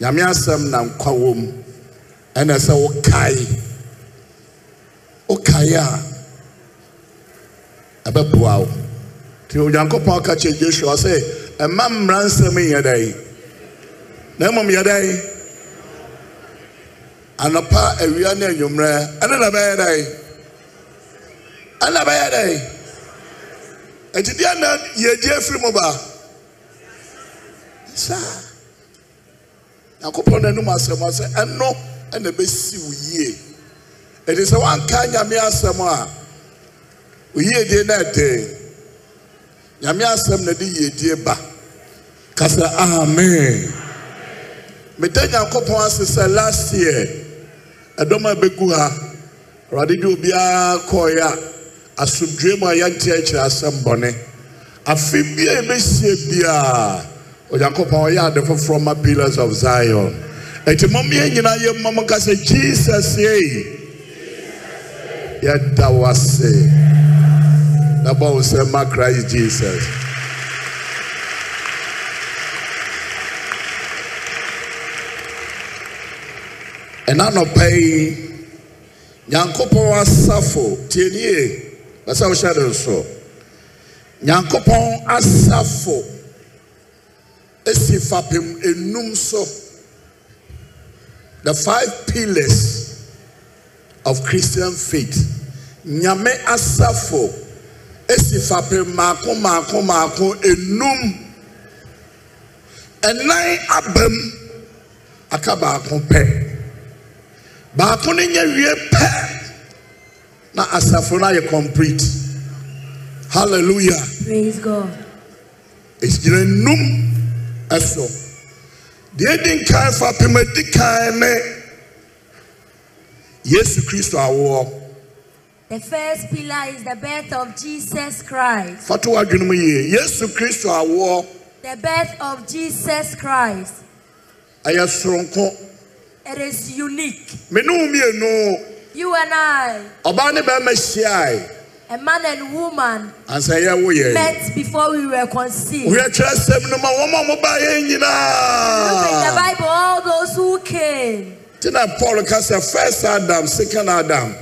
nyame asɛm na nkwa wɔ mu ɛna sɛ wokae wokae a ɛbɛboa wo nti onyankopɔn ka kyerɛ joshua sɛ ɛma mmara nsɛm nyɛ dɛn na mmom yɛ dɛn anɔpa awia ne anwummerɛ ɛne na bɛyɛ dɛn ɛne na bɛyɛ dɛn ɛti deɛ na yɛgye afiri mu ba saa nyankopɔn n'anim asɛm a sɛ ɛno ɛna bɛsi wo yie ɛti sɛ woanka nyame asɛm a wo yiedie na ɛdee nyame asɛm na de yiedie ba ka sɛ amen meda nyankopɔn ase sɛ last year ɛdɔm a bɛgu ha awurade de obiara kɔɔeɛ a asomdwe mu a yɛnte akyerɛ asɛm bɔne afe bia ɛbɛsie biara onyankopɔn ɔyɛ ade foforɔ ma pillars of zion ɛti mommeɛ nyinaa yɛ mma mo ka sɛ jesus ei yɛda wo ase na bɔ wo sɛ ma christ jesus ɛna nɔpa yi nyankopɔn asafo tienie bɛsɛ wohyɛ de nso nyankopɔn asafo esi fapem enum so the five pillars of christian faith nyame asafo esi fapem mako mako mako enum ɛnan abam aka baako pɛ baako ne nyɛ wie pɛ na asafo no ayɛ complete hallelujah Praise God. ɛgyina num ɛso deɛ di nkan fapem adi kan ne yesu kristo awoɔ The first pillar is the birth of Jesus Christ. fato w'adwene mu yie yesu kristo awoɔ The birth of Jesus Christ. ɛyɛ soronko It is unique. me ne wo mmienu You and I, ɔbaa ne bɛrima hyiae a man and woman, ansa yɛ wo yɛ met before we were conceived. wohwɛ kyerɛ sɛm no ma wɔn a mobaeɛ Look at the nyinaa Bible, all those who came. nti na paul ka sɛ first adam second adam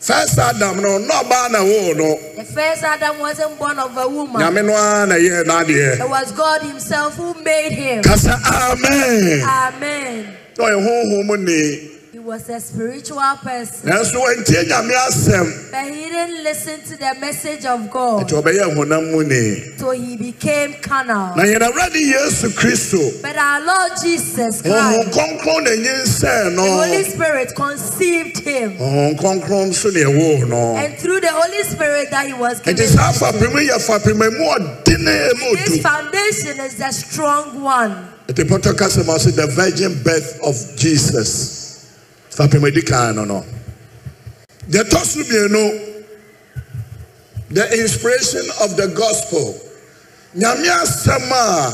first adam no na ɔbaa na woo no The first Adam wasn't born of a woman. nyame no ara na yɛɛ n'adeɛ It was God Himself who made him. ka sɛ amen Amen. na ɔyɛ honhom mu ne He was a spiritual person, nanso wantie nyame asɛm but he didn't listen to the message of God, nti ɔbɛyɛ honam mu ne so he became carnal. na yɛn awurade yesu kristo But our Lord Jesus honhom Christ, kronkron na nyinsɛn the Holy no Spirit conceived him, honhom kronkron nso na e ɛwoo no and through the Holy Spirit that he was nti given. E saa fapem yi yɛ fapem a mu ɔdene mu This odu foundation is the strong one. nti pɔtɔ kasa ma ɔsɛ the virgin birth of jesus fapem adi kan no no deɛ ɛtɔ so mmienu the inspiration of the gospel nyame asɛm a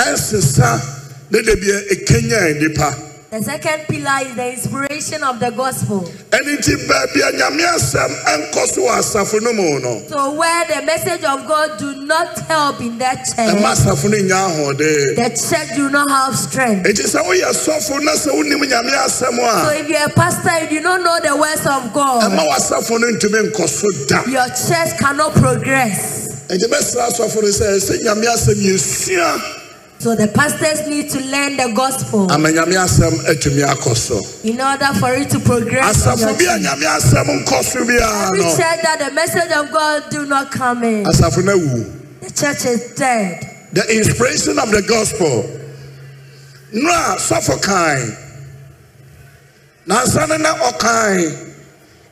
ɛnsesa ne de bia ɛkenya nipa The second pillar is the inspiration of the gospel. ɛne nti baabi a nyame asɛm ɛnkɔ so wɔ asafo no mu no So where the message of God do not help in that ɛma church, asafo no nya ahoɔden the church do not have strength. enti sɛ woyɛ sɔfo na sɛ wonim nyame asɛm So a if you're a pastor, you do not know the words of God, ɛma w'asafo no ntumi nkɔ so da your church cannot progress. ɛnti bɛsra asɔfo no sɛ sɛ nyame asɛm yɛsua So the pastors need to learn the gospel ama nyame asɛm atumi akɔ so in order for it to progress. in your asafo bi a church. nyame asɛm nkɔ so biara Every church no that the message of God do not come in, asafo no awu the church is dead. the inspiration of the gospel no a sɔfo kan nansa ne na ɔkan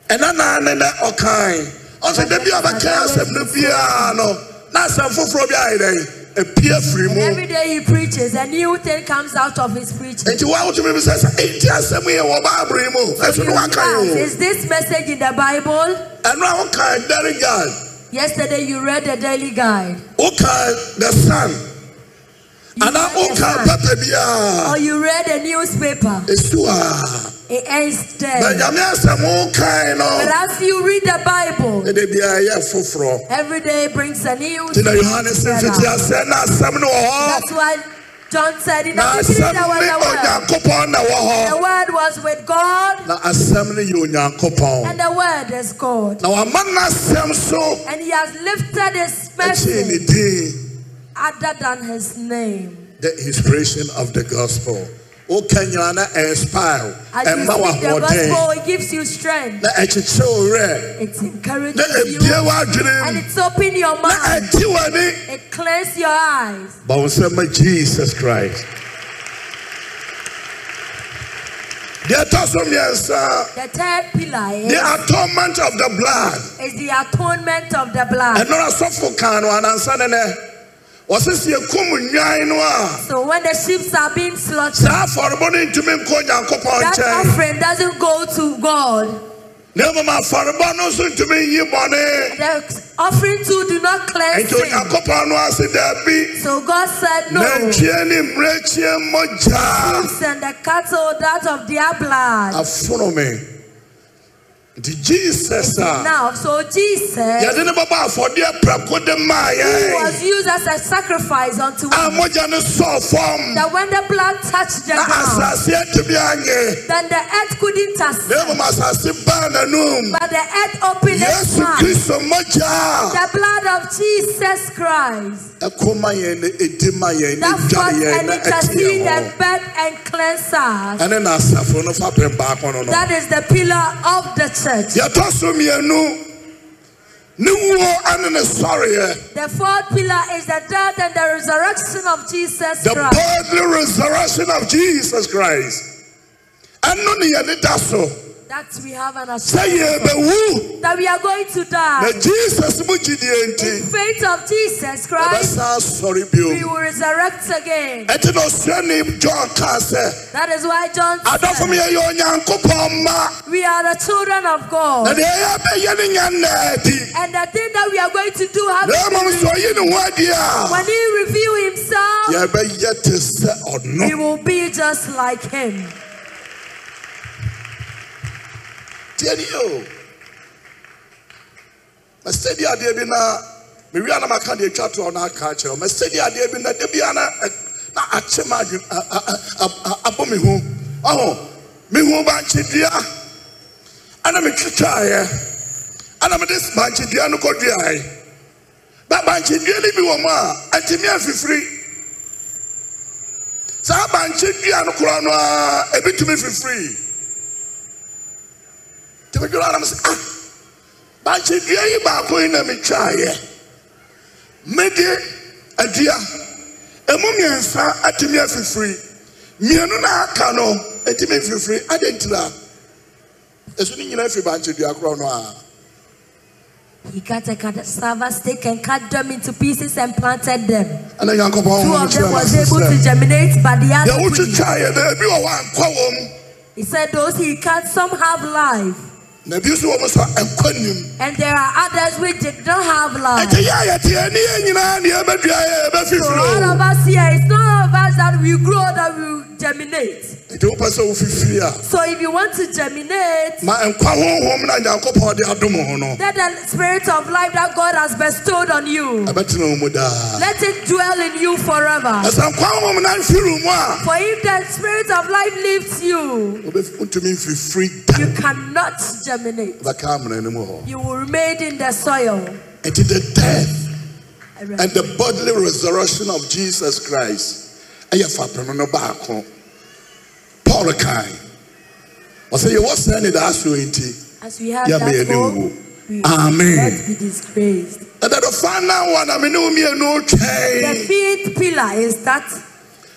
ɛna naa ne na ɔkan ɔsɛ dabi a ɔbɛka asɛm no biara no na asɛm foforɔ bi ayɛ dɛn apie firi And mu every day he preaches, a new thing comes out of his preaching. nti wa wotumi bi sɛ sɛ enti asɛm yi yɛ wɔ baabere mu ɛso no You waka ask, yi Is this message in the Bible? o ɛno a wokan dɛre guard Yesterday you read the daily guide, wokan the sun You anaa read the wokan Bible, pɛpɛ biara or you read the newspaper. ɛsu a It ends na dead. nyame asɛm wokan no But as you read the Bible, ɛdɛ biara yɛ foforɔ Every day brings a new nti na thing yohane se together. mfiti asɛ na asɛm no wɔ hɔ That's why John said in the na beginning asɛm there was ne wɔn the na The wɔ hɔ Word was with God, na asɛm no yɛ onyankopɔn and the Word is God. na wama n'asɛm so And He has lifted His ɛkyɛn ne message din other than His name. the inspiration of the gospel Oh, woka nyinaa na ɛnspire As you ɛma speak the w'ahoɔden gospel, it gives you strength. na ɛkyekyere wo werɛ It na encourages you, ebie and w'adwenem it's open your na mind. ɛgye w'ani It clears your eyes. bawo nsɛm ma jesus christ deɛ ɛtɔ so mmiɛnsa The third pillar the is, atonement of the blood is the atonement of the blood. ɛno asɔfo kaa no anansa ne nɛ wɔse sɛ yɛkum nnwan no a So when the sheep are being slaughtered, saa afɔrebɔ no ntumi nkɔ onyankopɔn that nkyɛn offering doesn't go to God. na mmom afɔrebɔ no nso ntumi nyi bɔne The offering too do not cleanse enti sin. onyankopɔn no ase daabi So God said na no. nkyie ne mmerɛkyie mmɔgyaa Wolves and the cattle that of their blood. afonome nti jesus ah. a Now, so Jesus, yɛde ne bɛbɔ afɔdeɛ prɛko de Ah, maa who yɛn was used as a sacrifice unto a us, mogya no sɔɔ fam that when the blood touched the na ground, asase atumi anyɛ then the earth couldn't touch. na mmom asase baa n'anom But the earth opened its yesu mouth. kristo mogya The blood of Jesus Christ a ɛko ma yɛn na ɛdi ma yɛn na that fought dware yɛn and na ɛte yɛn interceded, hɔ fed and cleansed us. ɛne na asafo no fa pɛn baako no no That is the pillar of the church. yɛtɔ so mmienu ne wuo ɛne ne sɔreɛ The fourth pillar is the death and the resurrection of Jesus the Christ. bodily resurrection of Jesus Christ. Ɛno ne yɛde da so That we have an sɛ assurance of. yɛbɛwu that we are going to die. na Jesus mu gyidie In nti faith of Jesus Christ, yɛbɛsan asɔre we bio. will resurrect again. Ɛti na osuani John kaa sɛ That is why John adɔfo mi said, yɛyɛ Onyankopɔn mma We are the children of na God. deɛ yɛyɛ abɛyɛ ne nya nnaa di. And the thing that we are going to do Na have mmom sɛ ɔyi ne ho adi a when he reveal himself, yɛbɛyɛ te sɛ we ɔno. will be just like him. Tie ni o. Mɛsɛ di adeɛ bi na mewi anam aka deɛ atwa to a ɔno aka akyerɛ o. Mɛsɛ di adeɛ bi na debi ana ɛ- na akye ma adwene a- a- a- a- abɔ me ho. Ɔho me ho bankyidua ana metwitwaeɛ ana mede s- bankyidua no kɔduaeɛ. Na bankyidua no bi wɔ mu a ɛntumi amfifiri. Saa bankyidua no koraa no ara ebi tumi fifiri. tẹmẹdúró ara mi sẹ ah bàtí dua yi baako yi na mi twa yẹ mẹdi adua emu mmiɛnsa atumi afifiri mmienu na aka no atumi afifiri adi ntira esu ni nyinaa fi bàtí dua korɔ no a He cut a cassava stick and cut them into pieces and planted them. ɛna nyanko pɔn Two wɔn of kyerɛ them wɔn was able to asesɛ germinate, but the deɛ other wotu couldn't. twa yɛ dɛ ebi wɔ hɔ a nkwa wɔm He said, Those he cut, some have life, na ebi nso wɔn nso a nkwa nim and there are others which did not have life. ɛkyɛ yɛ a yɛte yɛ ne yɛ nyinaa ne yɛ bɛ dua yɛ bɛ So all fifiri of o us here, it's not all of us that will grow that will germinate. nti wopɛ sɛ wofifiri a. So if you want to germinate, ma nkwa honhom na nyankopɔn de adom ho no let the spirit of life that God has bestowed on you ɛbɛtena wo mu daa let it dwell in you forever. na sɛ nkwa honhom na mfiri mu a For if the spirit of life leaves you, wobɛ- wontumi mfifiri da you cannot germinate. bɛka amena no mu hɔ You will remain in the soil. ɛnti the death and the bodily resurrection of jesus christ ɛyɛ fapem no baako paul kae ɔsɛ yɛwɔ sɛ ne daa so nti As we have Yeah, that me, I hope, know. we Amen. will not be disgraced. ɛdadɔfa na wa na mene wo mmienu The twɛn fifth pillar is that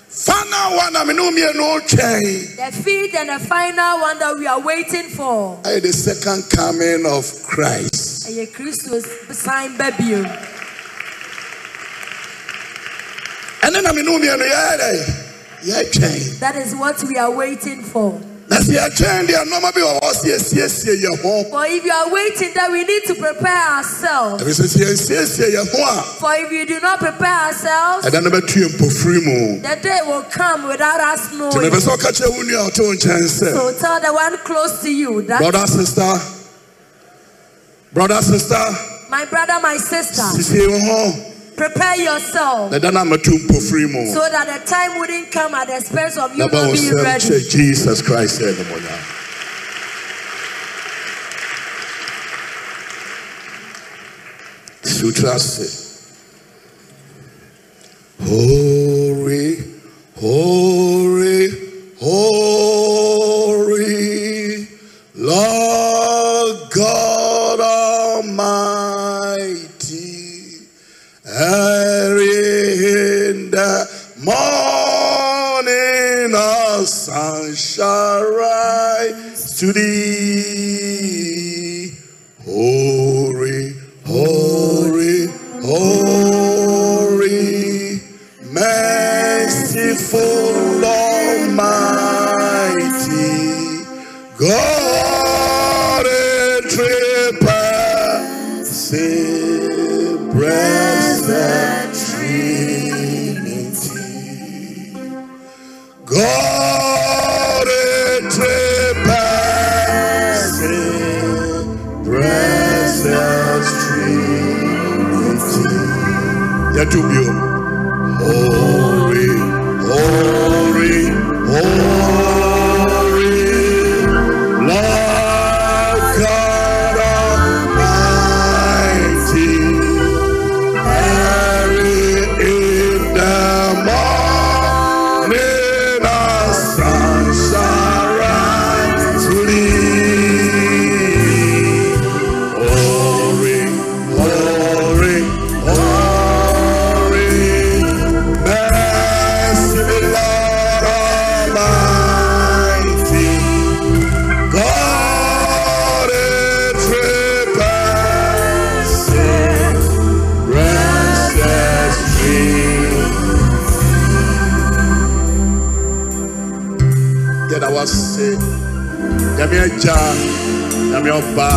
fa na wa na mene wo mmienu twɛn the fifth and the final one that we are waiting for. ɛyɛ the second coming of christ Ẹyẹ Christos sign baby o. ɛne na mene mmienu yɛyɛ dɛ yɛtwɛn That is what we are waiting for. na sɛ yɛtwɛn deɛ nɔɔma bi wɔ hɔ sɛ yɛsiesie yɛ ho For if you are waiting, then we need to prepare ourselves. ɛfiri sɛ sɛ yɛsiesie yɛ ho For if you do not prepare a ourselves, ɛda no bɛtu yɛ mpofiri mu the day will come without us nti knowing. mepɛ sɛ ɔka kyerɛ wo nua a ɔte wo nkyɛn sɛ So tell the one close to you that brother sister brother sister my brother, my sister, sisie wo ho Prepare yourself na da na mɛto mpofiri mu so that the time wouldn't come at the expense of you na ba not wo being sɛm ready. kyɛ jesus christ sɛ nomɔnya sutra se holy holy holy lord god almighty early in the morning of sun shall rise to thee. Holy, holy, holy, merciful Almighty, God in three persons, blessed Trinity. God in three persons, precious Trinity. Yatubio. Holy, holy, holy, Lord God Almighty. Mary in the morning, the sun shall rise to thee. Glory, glory, glory, merciful Lord Almighty. God is repentant, rest as free. Then I was sick. Nyame agya, Nyame ɔba,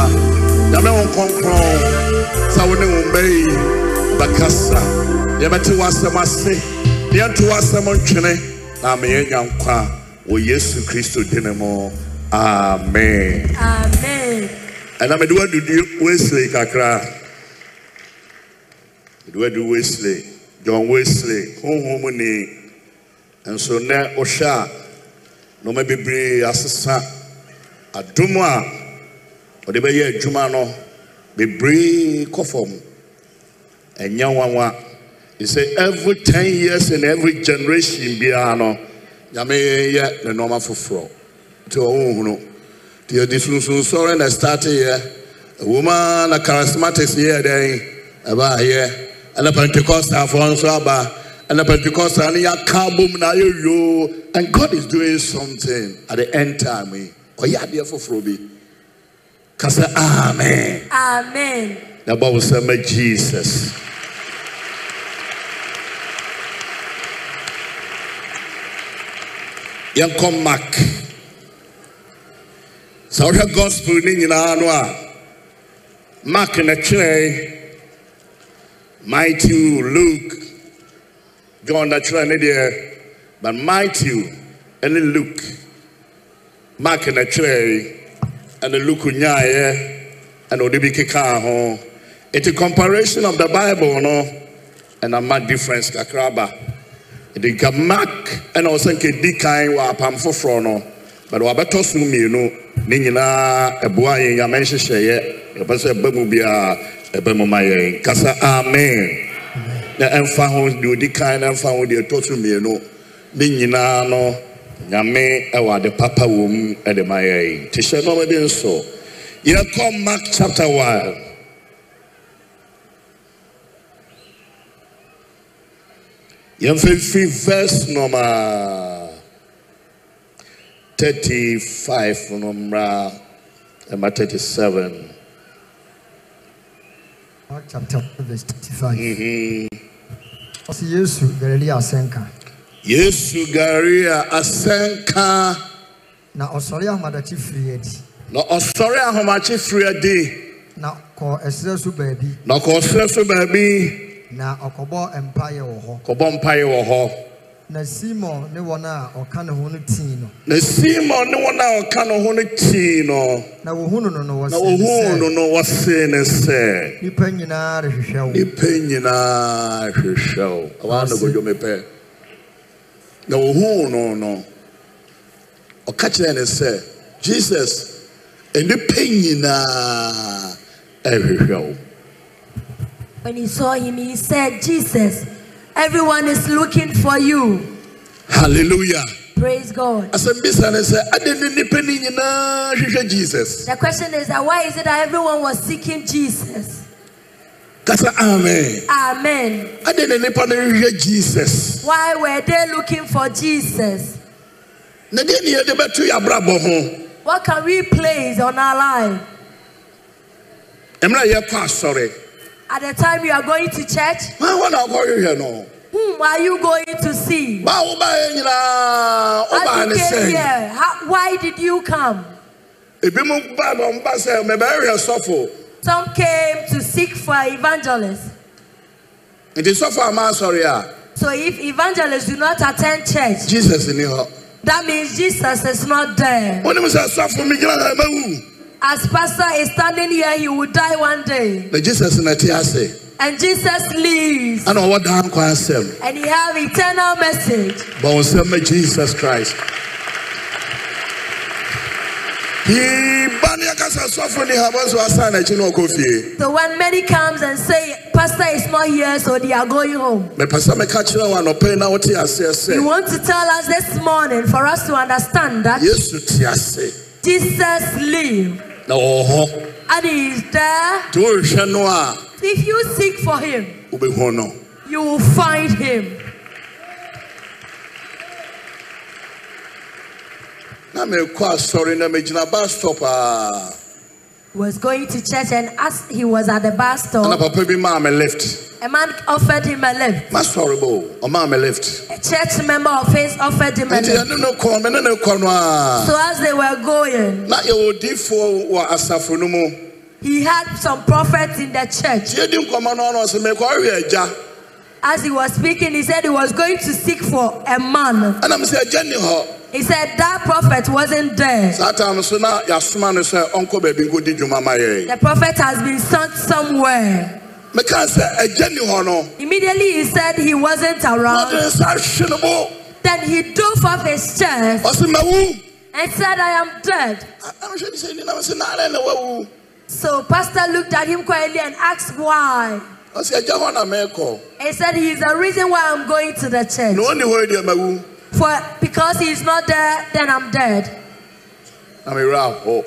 Nyame wo nkronkron, sɛ wo ne wo mma yi bɛkasa. Yɛbɛte w'asɛm ase, na yɛnto w'asɛm ntwene, na ama yɛanya nkwa wɔ Yesu Kristo din mu. Amen. Amen. ɛna mede woadudu wesley kakra mede woadu wesley john wesley honhom ni nso nɛ wohwɛ a nnoɔma bebree asesa adom a ɔde bɛyɛ adwuma no bebree kɔ fam ɛnyɛ nwanwa he say every ten years and every generation biara no nyame yɛ ne nneɛma foforɔ nti ɔhohunu nti yɛde sunsunsɔre na starte yɛ ɛwoma na charismatics yɛ dɛn ɛbaayɛ ɛna pentecostalfoɔ nso aba ɛna pentecostal no yɛaka abom na ayɛ yoo and god is doing something at the end time yi ɔyɛ adeɛ foforɔ bi ka sɛ amen Amen. na bɔ wo sɛ ma jesus yɛnkɔ mark sɛ wohwɛ gospel no nyinaa no a mark na twerɛe matthew luke john na twerɛ ne deɛ but matthew ɛne luke mark na twerɛe ɛne luke nyaeɛ ɛna ɔde bi kekaa ho nti comparison of the bible no ɛna ma difference kakra ba nti nka mark ɛna ɔsɛ nka di kan wɔ apam foforɔ no but wabɛtɔ so mmienu ne nyinaa ɛboa yɛn yame nhyehyɛeɛ ɛbɛ sɛ ɛba mu biara ɛba mu ma yɛn kasa amen na ɛmfa ho deɛ ɔdi kan na ɛmfa ho deɛ ɛtɔ so mmienu ne nyinaa no nyame ɛwɔ ade papa wɔ mu ɛde ma yɛn te hyɛ nɔɔma bi nso yɛkɔ mark chapter 1 yɛmfɛmfiri verse nɔma 35 no mmra ɛma 37 Mark chapter 1 verse 35. Ɔsi Yesu Galilea asɛnka yesu garia asɛnka na ɔsɔre ahomadakye firi adi na ɔsɔre ahomakye firi adi na kɔ ɛsrɛ so baabi na ɔkɔ ɔsrɛ so baabi na ɔkɔbɔ mpaeɛ wɔ hɔ. kɔbɔ mpaeɛ wɔ hɔ na simon ne wɔn a ɔka ne ho no tii no na simon ne wɔn a ɔka ne ho no tii no na wɔhunu no no na wɔse wɔhuu no sɛ no wɔsee ne sɛ nnipa nyinaa rehwehwɛ wo nipa nyinaa hwehwɛ wo ɔbaa no godwo mepɛ na wɔhuu no no ɔka kyerɛ ne sɛ jesus nnipa nyinaa ɛhwehwɛ wo When he saw him, he said, Jesus, everyone is looking for you. hallelujah Praise God. asɛm bi sa ne sɛ ade ne nipa no nyinaa hwehwɛ jesus The question is that why is it that everyone was seeking Jesus? kasa amen Amen. ade ne nipa no hwehwɛ jesus Why were they looking for Jesus? na deɛ ne yɛde bɛto yɛ abrabɔ ho What can we place on our life? mmerɛ a yɛkɔ asɔre At the time you are going to church, ma hɔ na wokɔhwehwɛ no whom are you going to see? ba wobaeɛ nyinaa wobaa As ne you came here, sɛ how, why did you come? ebinom baa ma mba sɛ mebɛhwehwɛ sɔfo Some came to seek for evangelists. nti sɔfo a maasɔre a So if evangelists do not attend church, jesus ni hɔ that means Jesus is not there. wonim sɛ sɔfo megyina ha mawu As pastor is standing here, he will die one day. na jesus na te ase And Jesus lives. ana ɔwɔ daa nkwa asɛm And he have eternal message. bɔ wo nsɛm ma jesus christ pii ba ne yɛka sɛ sɔfo ni ha bɔnso asan n'akyi na ɔkɔ fie So when many comes and say, Pastor is not here, so they are going home. mepɛ sɛ meka kyerɛ wo anɔpɛ yi na wote aseɛ You sɛ want to tell us this morning for us to understand that yesu te ase Jesus lives na wɔwɔ hɔ and he is there. nti worehwɛ no a If you seek for him, wobɛhu no you will find him. na mekɔ asɔre na megyina bus stop ah. a was going to church and as he was at the bus ana stop, papa bi maa me lift a man offered him a lift. masɔre bo ɔmaa me lift A church member of his offered him a nti lift. ɛne no kɔ me ne ne kɔ no ah. a So as they were going, na yɛwɔ difoɔ wɔ asafo no mu nti he had some prophets in the church. yɛdi nkɔmmɔ no ɔno ɔsɛ mekɔhwɛ agya As he was speaking, he said he was going to seek for a man. ɛnam sɛ agya nni hɔ He said that prophet wasn't there. saa tam so na yɛasoma no sɛ ɔnkɔ baabi nkɔdi dwuma ma yɛn The prophet has been sent somewhere. mekaa sɛ agya nni hɔ no Immediately he said he wasn't na ɔde around. ne nsa hwe no bo Then he dove off his chest ɔsɛ mawu and said, I am dead. anamhwɛ ne sɛ ni nam sɛ naanɛ na wawu So pastor looked at him quietly and asked why. ɔsɛ agya hɔ na mɛkɔ He said he is the reason why I'm going to na the church. ɔni hɔ yi deɛ mawu For because he is not there, then I'm dead. na mewerɛ ahɔ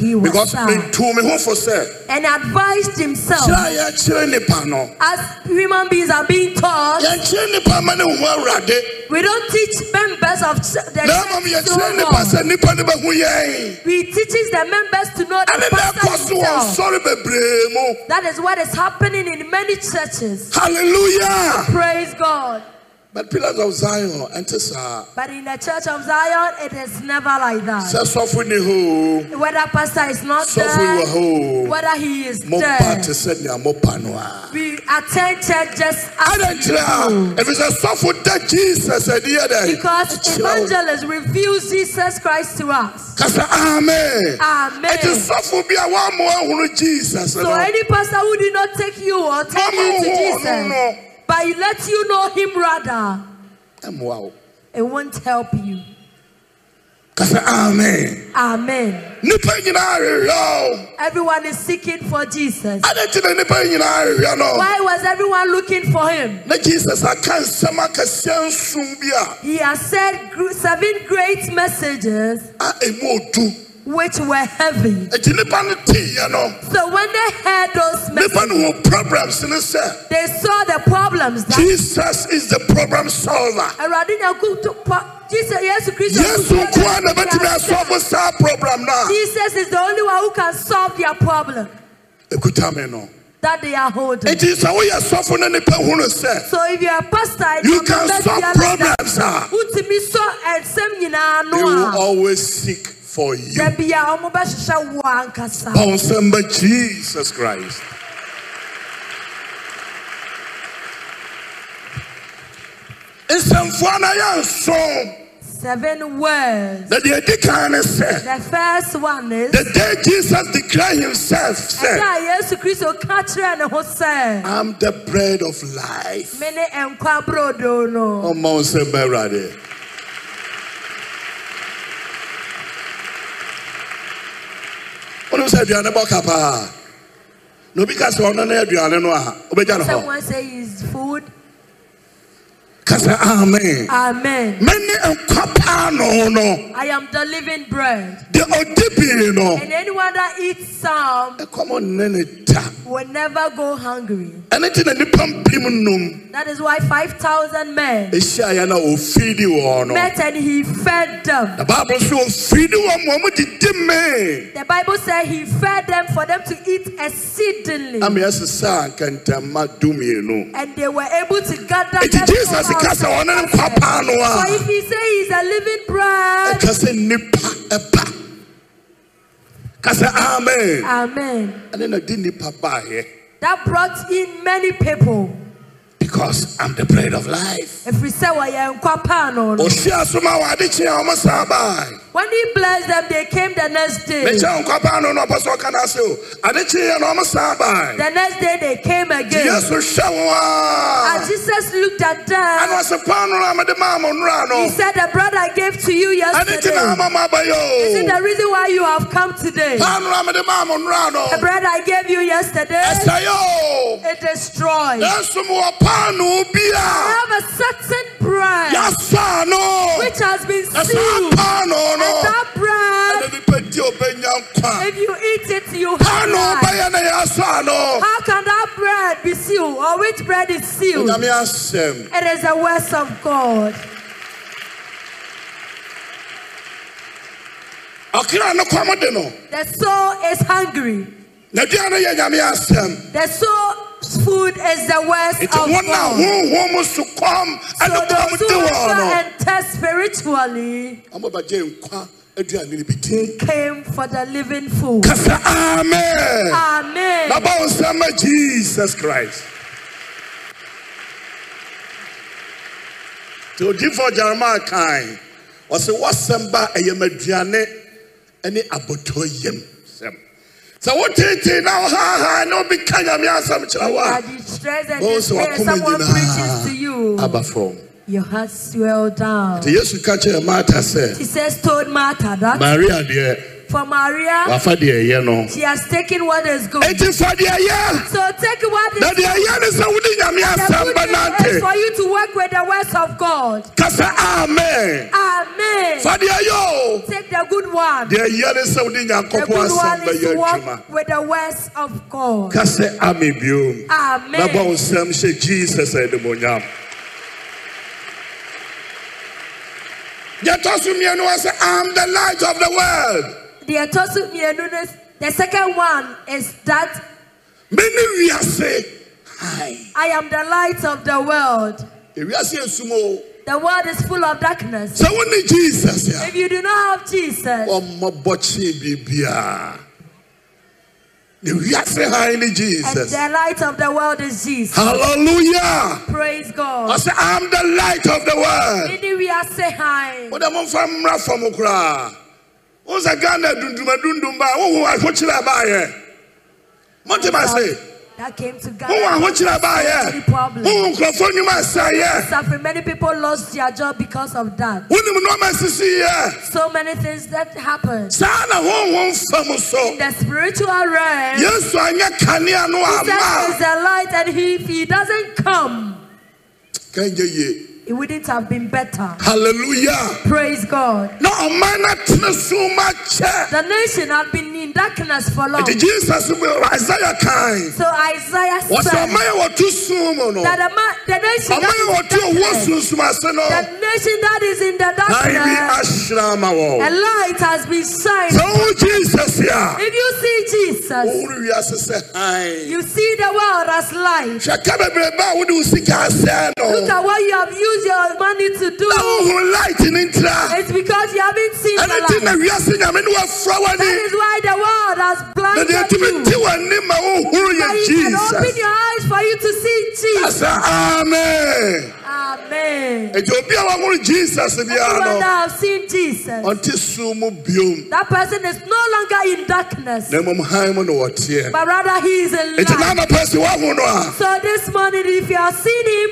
He was because sad metu me ho fo sɛ and advised himself. kyerɛ a yɛkyerɛ nnipa no As human beings are being taught, yɛnkyerɛ nnipa ma ne hu awurade we don't teach members of ch- the na mmom church yɛkyerɛ so nnipa much. sɛ nnipa no bɛhu yɛn We teaches the members to know ɛne the na ɛkɔ pastor so wɔ himself. nsɔre bebree mu That is what is happening in many churches. halleluya Praise God. but pillars of zion ɛnte saa But in the church of Zion, it is never like that. sɛ sɔfo ni hoo Whether pastor is not sɔfo wɔ there, hoo whether he is mopa there. te sɛ nea mopa no a We attend church just as adankyerɛ Mm. a ɛfiri sɛ sɔfo da jesus adi yɛ dɛn because evangelists reveals Jesus Christ to us. kasa amen Amen. ɛti sɔfo bi a wɔamoa ahunu jesus no So any pastor who did not take you or take you Mama, to no, Jesus, no. but he lets you know him rather, ɛmoa wo it won't help you. kasa amen Amen. nnipa nyinaa rehwɛ o Everyone is seeking for Jesus. adankyerɛ nnipa nyinaa rehwɛ no Why was everyone looking for him? na jesus aka nsɛm akɛseɛ nson bi a He has said gr- seven great messages a ɛmu odu which were heavy. ɛti nnipa no teeɛ no So when they heard those nnipa messages, no wɔ problems ne sɛ they saw the problems that jesus is the problem solver Awurade Nyanko- Pa- Jesus Yesu Kristo. yesu nko a na bɛtumi asɔfo saa problem no a Jesus is the only one who can solve their problem ekuta me no. that they are holding. Eti sɛ woyɛ sɔfo ne nipa hunu sɛ So if you are a pastor and you are can members solve here like that, problems a wotumi sọ ẹnsẹm nyinaa they will no a always seek for you. dabi a ọmọ bẹ hyehyẹ wọ ankasa. Oh. Bonsamba Jesus Christ. nsɛmfoɔ no yɛ nson Seven words. na deɛ ɛdi kan ne sɛ The first one is. the day jesus declared himself sɛ ɛda a yesu kristo ka kyerɛ ne ho sɛ i'm the bread of life mene nkwa brodo no ɔma wo sɛ mma awurade wonim sɛ aduane bɔ ka paa na obi ka sɛ ɔno ne aduane no a wobɛgya no hɔ someone say is food ka sɛ amen amen mene nkwa paa no no i am the living bread deɛ ɔdi bii no and anyone that eats some ɛkɔmɔ nne ne ta will never go hungry ɛne nti na nnipa mpem num that is why 5000 men ɛhyiaeɛ na ɔfiidi wɔ no met and he fed them na bible so ɔfiidi wɔ ma ɔmodidi mee the bible said he fed them for them to eat exceedingly na meɛsesaa nkɛntɛmma dumienu and they were able to gather Enti them Jesus all ka sɛ outside. ɔno ne nkwa paa no a, for if he say he is a living bread ɛka sɛ nipa ɛpa ka sɛ amen amen ɛne na di nipa baeɛ that brought in many people. because i'm the bread of life Efisɛ wɔyɛ nkwa paa no no. ɔhyia so ma wɔade kyeɛ ɔmo saa bae When he blessed them, they came the next day. mekyɛ nkwapaa no na ɔpɛ sɛ ɔka no ase o ade kyeeɛ na ɔmo saa bae The next day they came Nti again. yesu hwɛ wo As a Jesus looked ɛne at them, ɔse pa no no a mede maa mo nnora he no said, The bread I gave to you ɛne nti na yesterday ama mo is it abayɛ the reason why you have come today. o paa no no a mede maa mo nnora The no bread I gave you yesterday, ɛsɛe o it destroyed. I nanso mewɔ paa no bi a have a certain bread yɛsaa no which has been Na saa sealed. paano And no that ɛna bread, nipa di ɔbɛnya nkwa if you eat it, you paano have life. ɔbɛyɛ na yɛasɔ ano How can that bread be sealed? Or which bread is sealed? onyame asɛm It is the words of God. ɔkra no kɔm de no The soul is hungry. nadua no yɛ nyame asɛm The soul's food is the words nti of wo na God. honhom so kɔm So ɛne kɔm those de who wɔ no enter and test spiritually ɔma bagye nkwa aduane no bi ti they came for the living food. ka sɛ amen na Amen. ba wo nsɛm ma jesus christ nti odiyifoɔ jeremia kae ɔse wɔsɛm ba ɛyɛ maduane ne abotɔ yam sɛm sɛ wotete na wohahaa ne wobi ka nyame asɛm kyerɛ wo Are a you stressed and bɛwo sɛ despair? wakoma Someone preaches to nyinaa you. aba fam Your heart swell down. nti yesu ka kyerɛɛ marta sɛ She says, told Martha that maria deɛ for Maria, wafa deɛ ɛyɛ no she has taken what is good. enti fa deɛ ɛyɛ So take what na is deɛ ɛyɛ ne sɛ wode nyame The asɛm good news bɛnante is for you to work with the words of God. ka sɛ amen Amen. fadeɛ yɛ o Take the good one. deɛ yɛ ne sɛ wode The nyankopɔn good asɛm one is bɛyɛ to adwuma work with the words of God. ka sɛ ame biom na ba wo Amen. nsɛm hyɛ jesus animonyam yɛtɔ so mmienu wɔ sɛ am the light of the world The Apostle Mienunes- The second one is that mene wiase Ai. I am the light of the world. ewiase asum o The world is full of darkness. sɛ wone jesus a If you do not have Oh, Jesus, ɔmmɔ bɔkyee biribiaa ne wiase hann ne and jesus the light of the world is Jesus. hallelujah Praise God. ɔsɛ am the light of the world Many we are say hi. wode momfa mmra fam koraa wo sɛ ghana dundumadundum ba a wohu ahokyerɛ baayɛ mote ma se That came to God. wohu ahokyerɛ Any baayɛ problem. wohu nkurɔfoɔ nnwuma ɛsɛeɛ suffering. Many people lost their job because of that. wonim nɔma sisiyɛ So many things that happened saa na honhom fam in so the spiritual realm. He yesu anyɛ kanea no says is ama the light, and he, if he doesn't come, kanyɛ ye it wouldn't have been better. halleluya Praise God. na ɔman no tene so ma kyɛ The nation had been in darkness for long. nti jesus bi isaia kae So Isaiah wɔsɛ said ɔman yɛ wɔto sum mu no that the, ma- the nation ɔma yɛ that wɔte is in ɔwɔ darkness, sunsumase no the nation that is in the na ibi darkness, ahyira ama a wɔn light has been shined. sɛ wo jesus a If you see Jesus, wowore wiase sɛ hann you see the world as light. hwɛ ka bebrebe a wode wo sika asɛe Look no at what you have used your money na to do. wohu light ne ntira It's because you haven't seen the ɛne ti na light. wiase nyame ne wɔafura That w'ani is why the world has na deɛ blinded tumi te you. w'ani ma wohuru That yɛ you can open jesus your eyes for for you to see Jesus. kasa amen Amen. eti obi a wɔhoro jesus Everyone biara no that have seen Jesus, ɔnte sum mu biom that person is no longer in darkness, na mmom han mu na wɔteɛ but rather he is in eti light. n'anapa si wɔhoro no a So this morning, if you have seen him,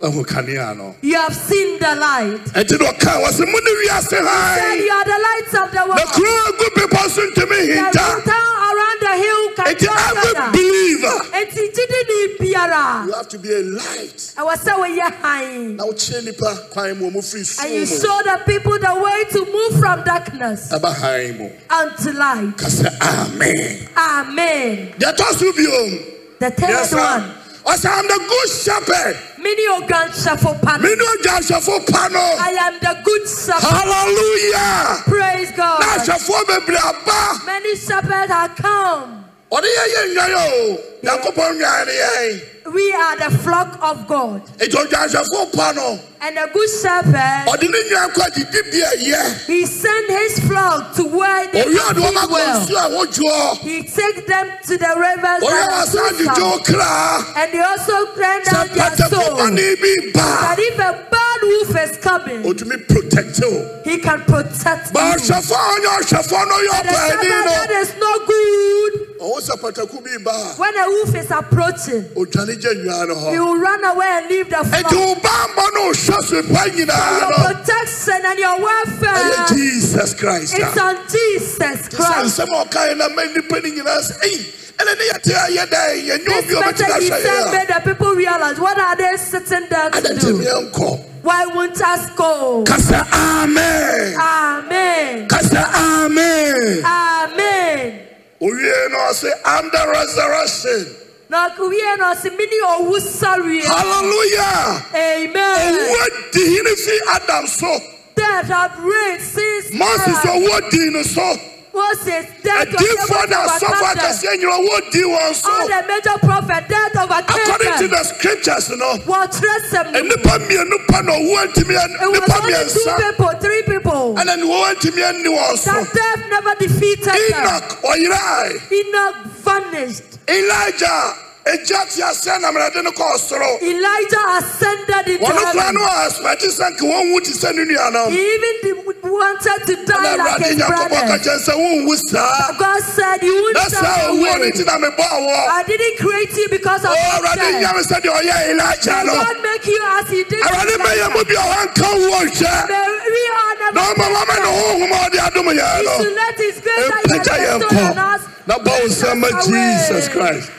wɔhoro kanea no you have seen the light. eti na ɔka wɔ sɛ mo ne wiase Said hann you are the lights of na the world. kuro egu bepɔ so ntumi The hinta town around the hill can eti go every gather. believer Enti gyidi ni biara. you have to be a light Ɛwɔ sɛ wɔyɛ hann. na wɔkyerɛ nipa kwan mu wɔn firi And you sum mu show the people the way to move from darkness ɛba hann mu unto light. kasa amen Amen. deɛ ɛtɔ so biom. The third Yes, one. sir. Ɔsɛ I'm the good shepherd. Mini ogan shafo Me pan. no agyafofo pa no. I am the good shepherd. Hallelujah. Praise Na God. ahwɛfoɔ bebree aba. Many shepherds are come. Ɔde yɛ yɛ nnwan o. Yakobɔ nnwan ne yɛn. We are the flock of God. Eti ɔgyafofo pa no. And the good shepherd, Ɔde ne nnwan kɔ gyidibea yɛ. he sent his flock to where they Owia are de wɔn doing akɔ well. nsuo a wɔdwoɔ. He takes them to the Owia rivers and wɔ the asan seaside, dwodwo kra. and they also turn down Sɛ their pɛtɛfo soul. bɔne bi That ba. if a bad wolf is coming, Otumi protect o. he can protect Ba you. ɔhwɛfoɔ a ɔnyɛ ɔhwɛfoɔ no yɛ And the shepherd ɔpaani that is no good, no. Ɔwɔ sɛ pataku bi ba when a wolf is approaching, a, odwane gye nnwan no hɔ. he will run away and leave the Ètò flock. bámbọ̀ náà ò ṣọ́ọ̀ṣì pa nyinaa Your lọ. protection and your Ẹyẹ welfare Jesus Christ is a. on Jesus Sísan Christ. sẹ́mu ọ̀ka yẹn náà mẹ́rin nípa ni nyinaa sẹ́, ẹ̀yìn ẹ̀nà ni yàtí ayé dá yẹn, yẹn ní This obi ọbẹ̀ tí better náà he ṣe yẹn said a. made the people realize what are they sitting there to Adẹ̀ntẹ̀ mi do? ẹ̀ ń kọ̀. Why won't us go? Kasa amen. Amen. Kasa amen. Amen. Owie náà sẹ́, I'm the resurrection. Na kuwie na osimini owu sorry. Hallelujah. Owó Amen. dìhín ní fi Adam so. Death have reigned since Moses Noah. owó dìhín ní so. Moses death was able Ẹ̀dínfọ́ to náà sọ́fọ́ overcome them. akẹ́sí ẹ̀yìn owó dìhín wọn so. All the major prophet death According to overcame them. the scriptures, you know, Wɔtrɛ sɛm no. nipa mmienu pa na owó ntumi It was nipa only two mmiɛnsa people, three people. ɛna ne owó ntumi ɛni wɔn so. That death never defeated them. Enoch ɔyerae, Enoch vanished. Elijah egya ti ase anamrade ne kɔ ɔsoro. Elijah ascended into Wɔn kura no heaven. a aspɛti sɛ nka wɔn wu ti sɛ ne nua no. He even de- wanted to die Ɛna like awurade his nyakopɔ brothers. kakyɛ sɛ wɔn wu saa. God said, You Na won't die saa owó ne away. ti na mi bɔ awɔ. I didn't create you because of O your awurade death. nya mi sɛ deɛ ɔyɛ oh, Elijah May no. God make you as He did. Awurade bɛyɛ mu bi a wɔn nka owó nhwɛ. May we all never Na ɔma wɔn mɛ ne honhom a ɔde adum yɛn He no. should let His grace that He mpagya has yɛn bestowed on kɔ us. na bɔ wo nsɛm ma us away. jesus christ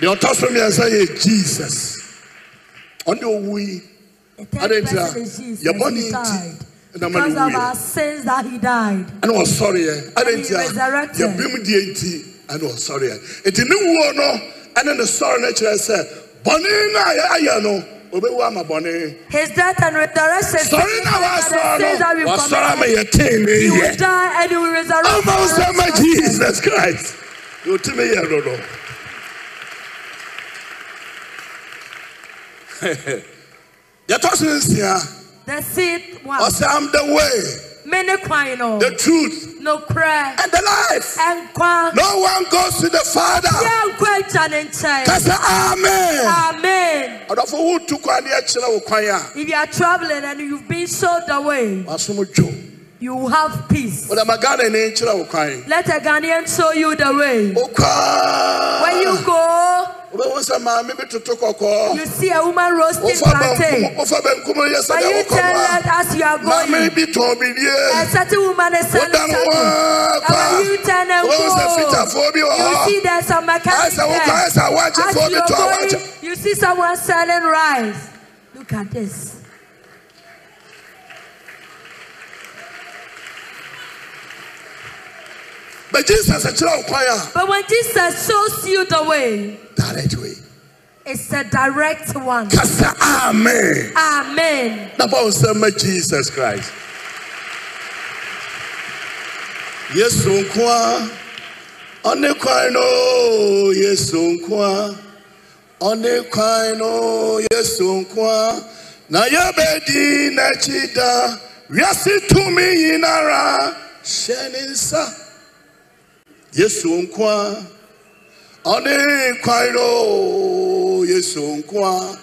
deɛ ɔtɔ so mmiɛnsa yɛ jesus ɔne ɔwu yi The Adɛn third nti a, person is Jesus. yɛ bɔne He nti died na ma no because of wuiɛ. our sins that He died. ɛne ɔsɔreɛ ɛne And he nti a resurrected. yɛbim deɛ nti ɛne ɔsɔreɛ enti ne wuo no ɛne ne sɔre no kyerɛ sɛ bɔne no a ayɛ no obɛwu ama bɔne His death and resurrection. sɔre no a the sins that wasɔre we no wasɔre ama committed. yɛtee ne He will yɛ die and he will resurrect. ama wo sɛ ma resurrect us. jesus christ deɛ ɔtumi yɛ no no yɛtɔ so nsia The seed one. ɔsɛ am the way Many kwino. the truth No prayer. and the life And kwa. no one goes to the father Yeah, kwa chanenche. kasa amen Amen. ɔdɔfo wotu kwan ne ɛkyerɛ wo kwan a If you are traveling and you've been sold away, wasom dwo you will have peace. wode ma ghana ne nkyerɛ wo kwan Let a Ghanaian show you the way. When you wokɔa go, wobɛhu sɛ maame bi toto kɔkɔɔ you see a woman roasting wofa plantain. bankum wofa bankum yɛ But you sɛdeɛ tell her wokɔma as you are maame going, bi tɔn bidie a certain woman is selling woda no something. waa And when you kwa turn and wobɛhu sɛ go, fitafoɔ bi wɔ you hɔ see there's some mechanic As I walk, there. as I watch, As before me you're too, I watch. going, you see someone selling rice. Look at this. but jesus kyerɛ wo kwan a But when Jesus shows you the way, direct way it's a direct one. kasa amen Amen. na bɔ nsɛm ma jesus christ yesu nko a ɔne kwan no yesu nko a ɔne kwan no yesu nko a na yɛbɛdi n'akyi da wiase tumi nyinara hyɛ ne nsa yesu nko a ɔne kwan no yesu nkoa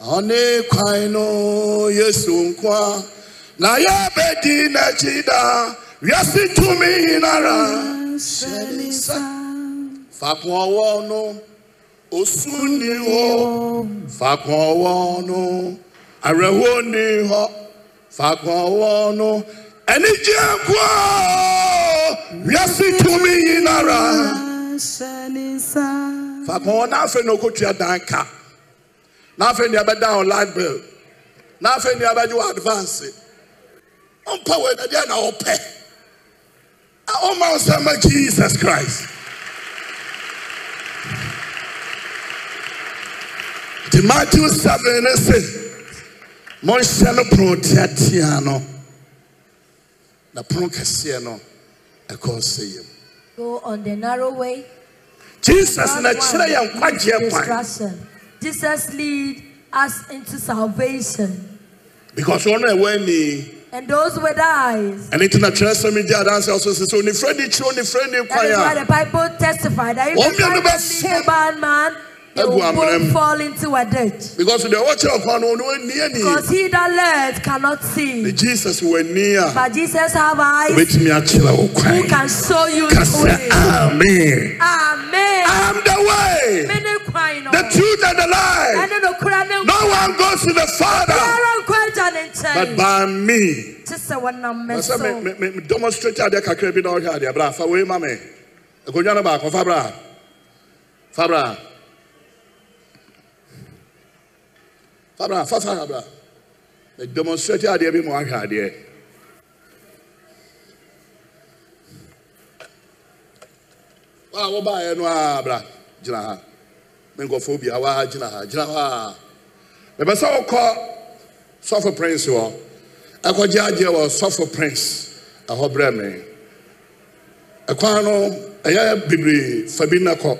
ɔne kwan no yesu nkoa na yɛbɛdi n'akyi daa wiase tumi nara hyɛ ne nsa faako ɔwɔ no osu ni hɔ faako ɔwɔ no awerɛhoɔ ni hɔ faako ɔwɔ no anigyeɛ nkoa wiase tumi nara. Faako hɔ n'afɛ na okotua dan ka n'afɛ na ɛbɛda wɔn light bill n'afɛ na ɛbɛgye wɔn advance ɔmpa wɔn ɛdɛdeɛ na ɔpɛ a ɔma ɔsɛmɛ jesus christ ti matthew seven ne se mɔnhyɛ no pono teatea no na pono kɛseɛ no ɛkɔɔ sɛ yam Go on the narrow way. jesus na Not kyerɛ one yɛn nkwagyeɛ kwan. Distraction. Jesus lead us into salvation. because wọn náà wọ ẹni And those with eyes. ẹni tí na kyerẹ sẹmi di adansi ọsọ sisi onífrẹ ni kyerẹ onífrẹ ni That is why kwaya the Bible testified that if Wọ́n the mìíràn bá Son fọ́. of bad man, they Egu will amena mu. both fall into a ditch. because deɛ ɔkyerɛ kwan no ɔno ɛni ɛni Because he that led cannot na see. jesus wɔ ɛni a But Jesus have eyes obetumi akyerɛ wɔ who kwan can show you the kasa way. amen Amen. i am the Ah. way Mene kwan no. the truth and the life Ɛne nokora ne no one goes to the father biara nkɔ agya ne but nkyɛn. by me Te sɛ wɔnam na me sɛ me so. me me me demonstrate adeɛ kakra bi na ɔhwɛ adeɛ abira fa wei ma mi akonnwa no baako fa bra fa bra fa bra fa fa bra me demonstrate adeɛ bi ma ɔhwɛ adeɛ wa a wɔbaeɛ no a bra gyina ha me nkɔfoɔ bi a wa gyina ha gyina hɔ a mɛbɛ sɛ wokɔ sɔfo prince wɔ ɛkɔgye agye wɔ sɔfo prince ɛhɔ brɛ me ɛkwan no ɛyɛ bebree fa bi na kɔ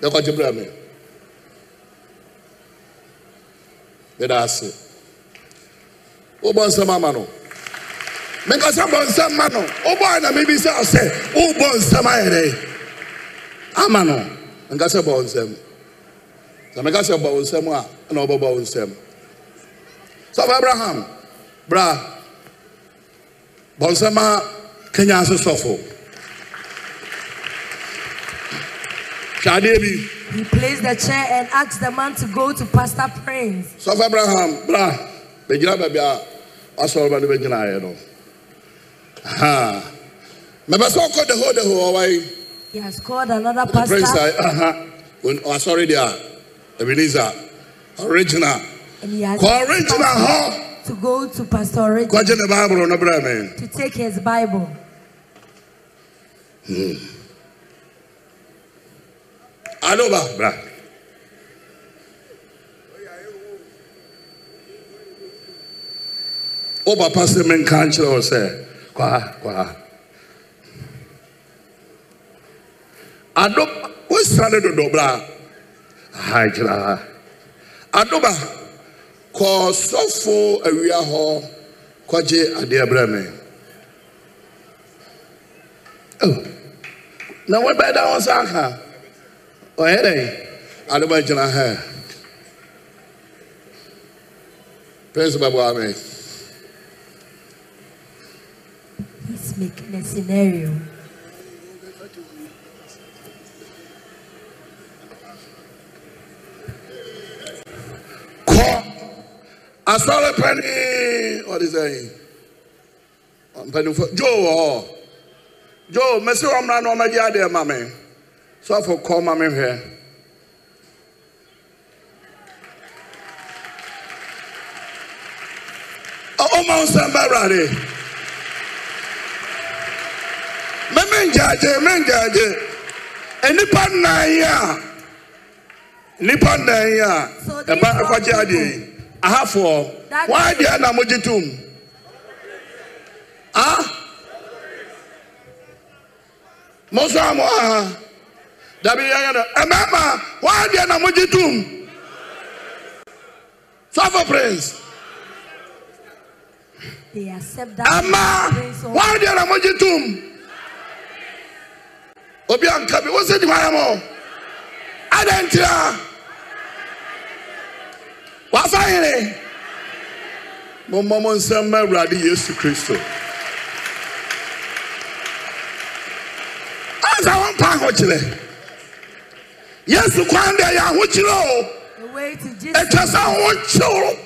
ɛkɔgye brɛ me meda ase wobɔ nsɛm ama no meka sɛ bɔ nsɛm ma no wobɔɛ na mebisa wo sɛ wobɔ nsɛm ayɛ dɛ ama no nka sɛ bɔ wo nsɛm sɛ meka sɛ bɔ wo nsɛm a ɛna wobɛbɔ wo nsɛm sọfọ abraham bra bọnsẹmá kenya ase sọfọ twade bi He placed the chair and asked the man to go to Pastor Prince. sọfọ abraham bra bẹgyina bẹbi a wasọrọ ba ne bẹgyina ayẹ no ha mẹbẹsẹ ọkọ deho deho ọwa yi He has called another prince pastor ayi aha wasọrọ di a ebenezer original and he has kọ original hɔ to go to Pastor Rick kọjá ne baabolo no brẹ mi. to take his Bible. Adoba, bra. O papa se men kan kyerɛ wo sɛ kwa kwa. Ado wo sane dodo bra. Ha kyerɛ ha. Adoba kɔ sɔfo awia hɔ kɔgye adeɛ brɛ me. Oh. Na wɔbɛda wɔn sa aka. ɔyɛ dɛ adeba gyina ha prince bɛbɔ ame He's making a scenario. kɔ asɔre pani ɔde sɛ yi mpanimfo joe wɔ hɔ joe mesi wɔn mmeran na wɔn agye adeɛ ma me sɔfo kɔ ma me hwɛ ɔmo nsɛm bɛwura de mɛmɛ njaagye mɛ njaagye enipa nnan yi a nipa Eh, nnan yi a So these ɛba are ɛkɔgye adeɛ yi ahafoɔ That- wɔn adeɛ na mogye tom ah mo nso a mo wɔ ha dabi yɛyɛ no ɛmɛɛma wɔn adeɛ na mogye tom sɔfo prince. They accept that. ama Prince of- wàá di ara mọ́jú tum obi anka bi wọ́n sẹ́ di wáyà mọ́ ntira wafa yere mọmọ mọ nsẹm mọ awurade yesu kristo ansa wọn mpa ahokyerɛ yesu kwan deɛ yɛ ahokyerɛ o The way to ɛtwa Jesus, sɛ ahokyerɛ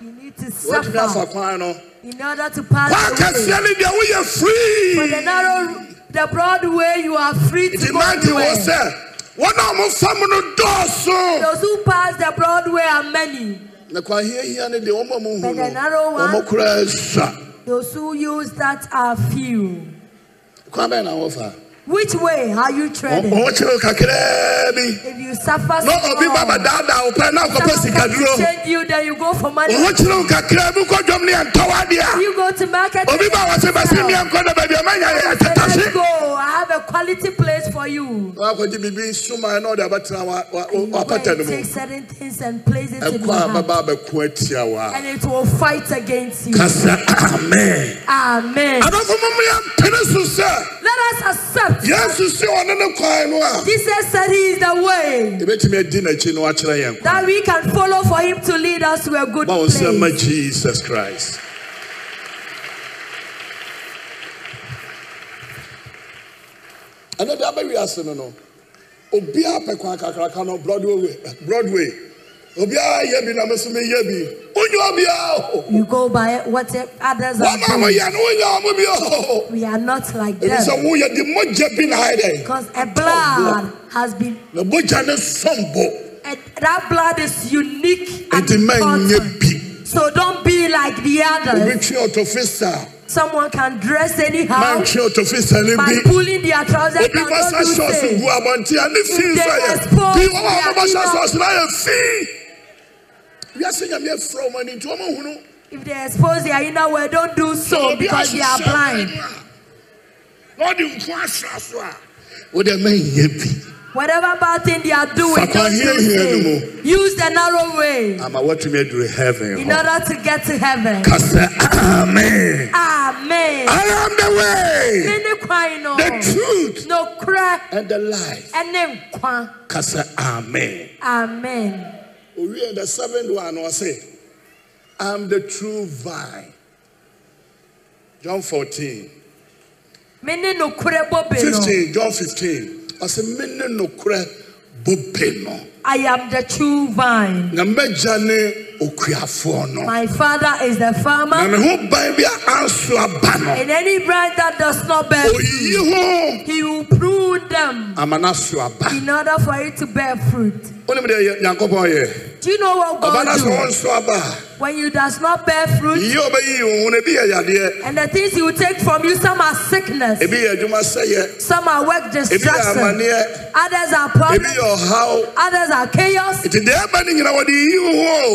you need to o wotumi afa suffer kwan no in order to kwan pass the way. kɛseɛ no deɛ woyɛ For the firii narrow, the broad way, you are free to nti go mante wɔ anywhere. sɛ wɔn a wɔmfa mu no dɔɔso Those who pass the broad way are many. na kwan hiahia no deɛ wɔn a But the wɔnhu narrow no one- wɔn koraa sua Those who use that are few. kwan bɛn na wɔfa Which way are you treading? wɔn kyerɛ wo kakraa bi If you suffer na obi ba small, badaadaa wo pɛ na akɔpɛ someone sika comes duro to change you, then you go for money. wɔn kyerɛ wo kakraa bi kɔ dwom ne yɛ ntɔwadeɛ You go to market. obi ba wɔ sɛ bɛsi and mmea nkɔ na baabi ama nya yɛ sell. tata Say, se Let's go. I have a quality place for you. wakɔgye biribi soma na ɔde abɛtena wa- wa- And you go wapata no E and mu take certain things and place it in ɛkɔ your a heart. bɛba abɛko atia wo a And it will fight against you. kasa amen Amen. adɔfo mommea mpene so sɛ Let us accept. yesu sɛ ɔne ne kwan no a Jesus said he is the way yɛbɛtumi adi n'akyi no wakyerɛ yɛn kwan that we can follow for him to lead us to a good ma wo nsɛm ma place. jesus christ ɛnɛ de abɛwi ase no no obiara pɛ kwan kakraka no broadway we- broadway obiara yɛ bi na me so meyɛ bi wonyɛ obiara o You go by what others are wɔma doing. moyɛ no wonyɛ mo bi o We are not like ɛfiri them. sɛ woyɛ de mogya bi na ayɛ dɛn Because a Oh, blood has been, na mogya ne sɔmbo and that blood is unique and nti ma important. nyɛ bi So don't be like obi the others. twe ɔtɔfisa Someone can dress anyhow mantwe ɔtɔfisa no by bi pulling their trousers obi down. bá sá Don't do ṣọ́ọ̀ṣì same. gu abọ̀ntí ẹni fi ń sọ yẹ bí wọ́n wà wọ́n bá sá ṣọ́ọ̀ṣì náà yẹ fi. wíyásí nyàmú yẹ fúra ọmọ ẹni tí wọ́n mọ̀ hùnú. If they expose their inner way, don't do so because they are blind. lọ́ọ̀dì nkún aṣọ aṣọ a. ó dẹ mẹ́yìn yẹ bi. Whatever bad thing they are doing, Sakwa don't hie do hie ni same. Use the narrow way àmà wọ́n tún bẹ dùrù heaven in hàn. order to get to heaven. kásẹ̀ amen. Amen. I am the way Mene kwan no. Ah, the truth No crack and the life. and kwa. kásẹ̀ amen. Amen. Owie the seventh one was say, I'm the true vine. John 14. Mene no kure bobe no. 15, John 15. I said, Mene no kure bope no. I am the true vine. Na mmeja ne okuafo no. My father is the Na farmer, me ho ban bi a anso aba no. and any branch that does not bear, Oyiyi ho he will prune them ama na so aba. in order for it to bear fruit. Onim de Yakobon ye. Do you know what Aba na God so do? onso aba. When you does not bear fruit, Ye obeyi ho na bi ye yade. and the things he will take from you, some are sickness, Ebi ye adwuma seye. some are work Ebi ye destruction, amane. others are Ebi problems, ye ohaw. others are chaos. Nti deɛ ɛba no nyina wɔde yi wo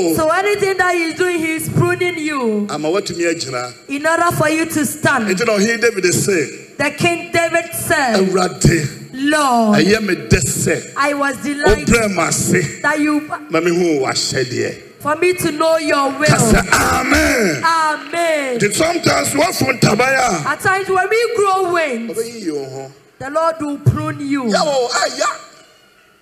ho So anything that he's doing, he's pruning you ama woatumi agyina in order for you to stand. nti na ɔhene david se The King David said, awurade Lord, ɛyɛ me dɛ sɛ I was delighted wobrɛ me ase that you ma mehu w'ahyɛdeɛ for me to know your ka will. sɛ amen Amen. nti sometimes woafo ntaban a At times when we grow wings, ɔbɛyiyi wo ho the Lord will prune you. yɛwɔ aya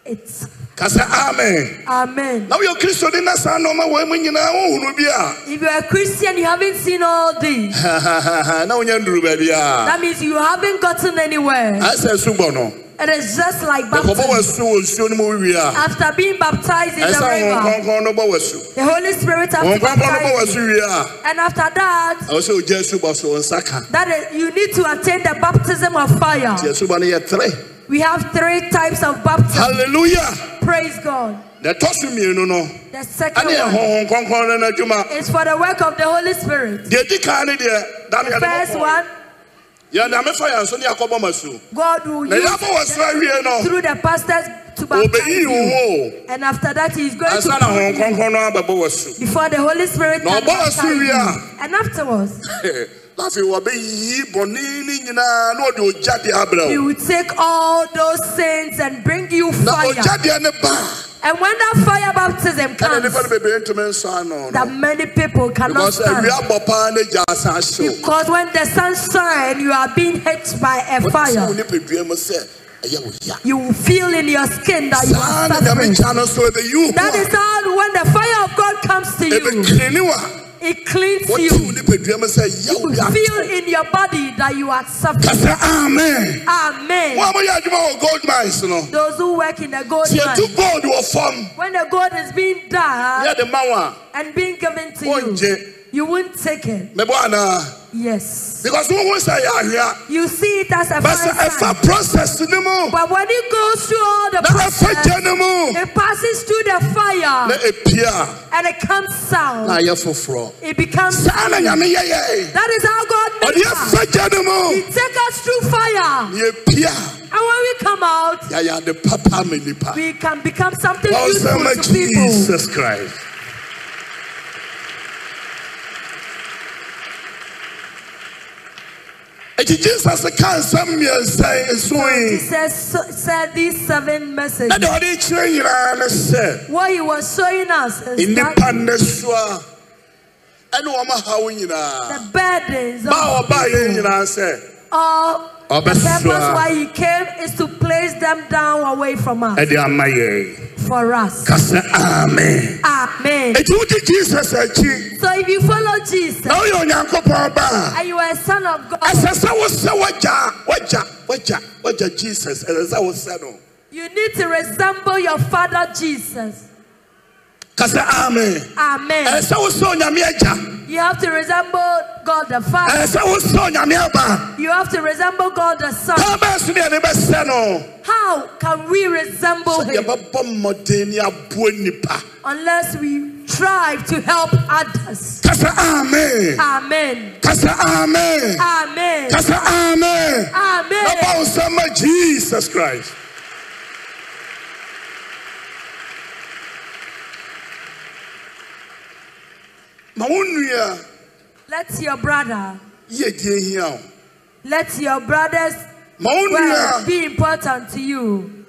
It's ka sɛ amen Amen. na woyɛ kristoni na saa nɔɔma wɔ mu nyinaa wohunu bi a If you're a Christian, you haven't seen all this. na wonya nduru baabi a That means you haven't gotten anywhere. ayɛ sɛ su bɔ no It is just like ɛkɔbɔ baptism. w'asu wɔ nsuo no mu wowie a After being baptized in ɛyɛ the sɛ honhom river, kronkron no bɔ w'asu the Holy Spirit wɔn after nkɔnkɔn no bɔ wɔ baptizing. so wie a And after that, ɛwɔ sɛ ogya asubɔ so wɔn nsa ka that is, you need to attain the baptism of fire. nti asubɔ no yɛ tere We have three types of baptism. hallelujah Praise God. na ɛtɔ so mmienu no The ɛne yɛ second one honhom kronkron no n'adwuma is for the work of the Holy Spirit. deɛ edi kan no deɛ dane The first one, yɛn na mefa yɛn so ne yɛakɔbɔ ma su God will na use yɛabɔ wɔ so awie no through the pastors to baptize obeyi wo you. ho And after that, he is o going to ansa na honhom come kronkron no abɛbɔ wɔ so before the Holy Spirit Na can ɔbɔ baptize asu wie you. a- And afterwards, afei wɔbɛyiyi bɔne no nyinaa na ɔde ogya deɛ abrɛ he wo will take all those sins and bring you na fire. ogya deɛ ne ba And when that fire baptism a, ɛne nipa no comes, bebree ntumi nso ano that no many people cannot because stand. awia bɔ paa na gya asan ahyew Because when the sun shines, you are being hit by a Wote sɛ wo fire. nipadua mu sɛ ɛyɛ wo ya You will feel in your skin that you saa are na nyame suffering. kya no so ɛbɛ yiw That is ho how when the fire of God comes to a you, ɛbɛkiri ne wo a it cleans wote wo you. oh, nipadua mu sɛ You yawo will ya feel in your body that you are suffering. kasa amen mo Amen. a moyɛ adwuma wɔ gold mines no Those who work in the gold sɛ mine, yɛtu gold wɔ fam when the gold is being dug yɛde ma wo a and being given to Won't you, you won't take it. mebɔ anaa Yes. because wohu sɛ yɛ ahwea You see it as a but sɛ fine sign. ɛfa process ne mu But when it goes through all the na ɛfa process, gya no mu it passes through the na fire ɛpie a and it comes out. na ayɛ foforɔ It becomes. saa na clean. nyame yɛyɛe That is how God ɔde makes us. ɛfa gya no He mu take us through fire. na yɛpie a And when we come out, yɛayɛ ade papa ma nnipa we can become something useful Osama to people. Jesus Christ. Eti Jesus ka nsɛm mmiɛnsa yi nson He yi says, so, said these seven na messages. deɛ ɔde kyerɛ nyinaa ne sɛ What he was showing us is nnipa that nne so a ɛne wɔn ahaw nyinaa the burdens ba a of ɔbaa yɛn people nyinaa sɛ or the Ɔbɛsoa. purpose why he came is to place them down away from us, ɛde ama yɛn for us. ka sɛ amen. Amen. Eti wodi Jesus akyi So if you follow Jesus na woyɛ onyankopɔn ba a. and you are a son of God, ɛsɛ sɛ wosɛ wagya wagya wagya wagya jesus ɛsɛ sɛ wosɛ no you need to resemble your father Jesus. ka sɛ amen Amen. ɛsɛ sɛ wosɛ onyame agya You have to resemble God the Father. ɛsɛ sɛ wosɛ onyame aba You have to resemble God the Son. kaa bɛɛ so ne yɛde bɛsɛ no How can we resemble sɛ Him yɛbɛbɔ mmɔden ne aboa nnipa unless we strive to help others? ka sɛ amen Amen. ka sɛ amen Amen. ka sɛ amen na Amen. bɔ wo nsa ma jesus christ ma wo nnua Let your brother, yɛdie hia wo let your brother's ma wo word nua be important to you.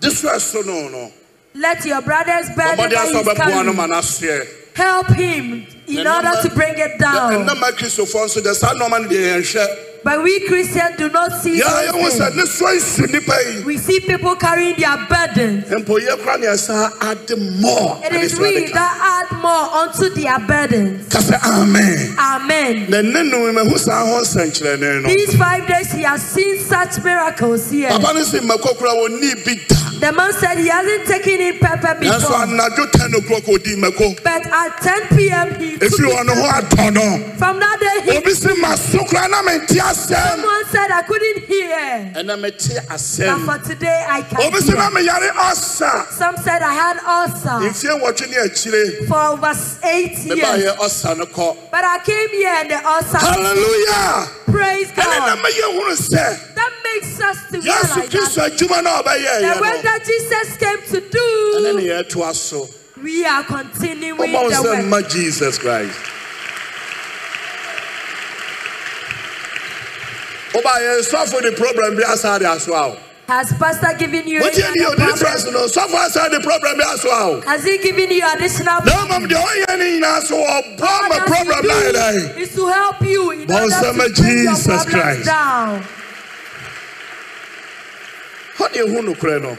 de so ɛso no no Let your brother's burden ɔmɔde that asɛ he's ɔbɛboa no ma carrying, no aseɛ help him in order to bring it down. ɛnama kristofoɔ nso deɛ saa nɔɔma no deɛ yɛnhwɛ But we Christians do not see yɛa those yɛhu things. sɛ ne soa su nnipa yi We see people carrying their burdens. mpo yɛ kora ne ɛsa ade mmɔɔ It is we that add more unto their burdens. ka sɛ amen Amen. na ɛnɛ no mahu saa ho nsɛnkyerɛnne no These five days he has seen such miracles here. papa no sɛ mmako kora wɔnii bi da The man said he hasn't taken in nanso pepper before. anadwo 10 o'clock ɔdii mmako But at 10 p.m. he took ɛfiri it. hɔ no ho atɔ no From that day he obi se maso kora na mente asɛm someone said I couldn't hear. ɛna mete But asɛm for today I can Um, obi se hear. na meyare ɔsa Some said I had ulcer mfie wɔtwe ne akyire for over eight years. mebaayɛ ɔsa no kɔ But I came here and the ulcer. hallelujah Ah. Praise ɛne na God. mɛyɛ hunu sɛ That makes us to yesu realize kristo that adwuma na the ɔbɛyɛɛyɛ work no that Jesus came to ɛne ne do, yɛtoa so we are continuing ɔma wo sɛ the work. ma jesus christ wobayɛ sɔfo de problem bi asa de asoa wo Has Pastor given you any wotie ne other yɛ difference problem? no sɔfo asa de problem bi asoa wo Has he given you additional na mmom deɛ ɔyɛ ne nyinaa so ɔbɔ ma All that problem he na do yɛdae is to help you in order Bonsam to bring your Jesus problems Christ. down. hɔ ne ɛhu nokorɛ no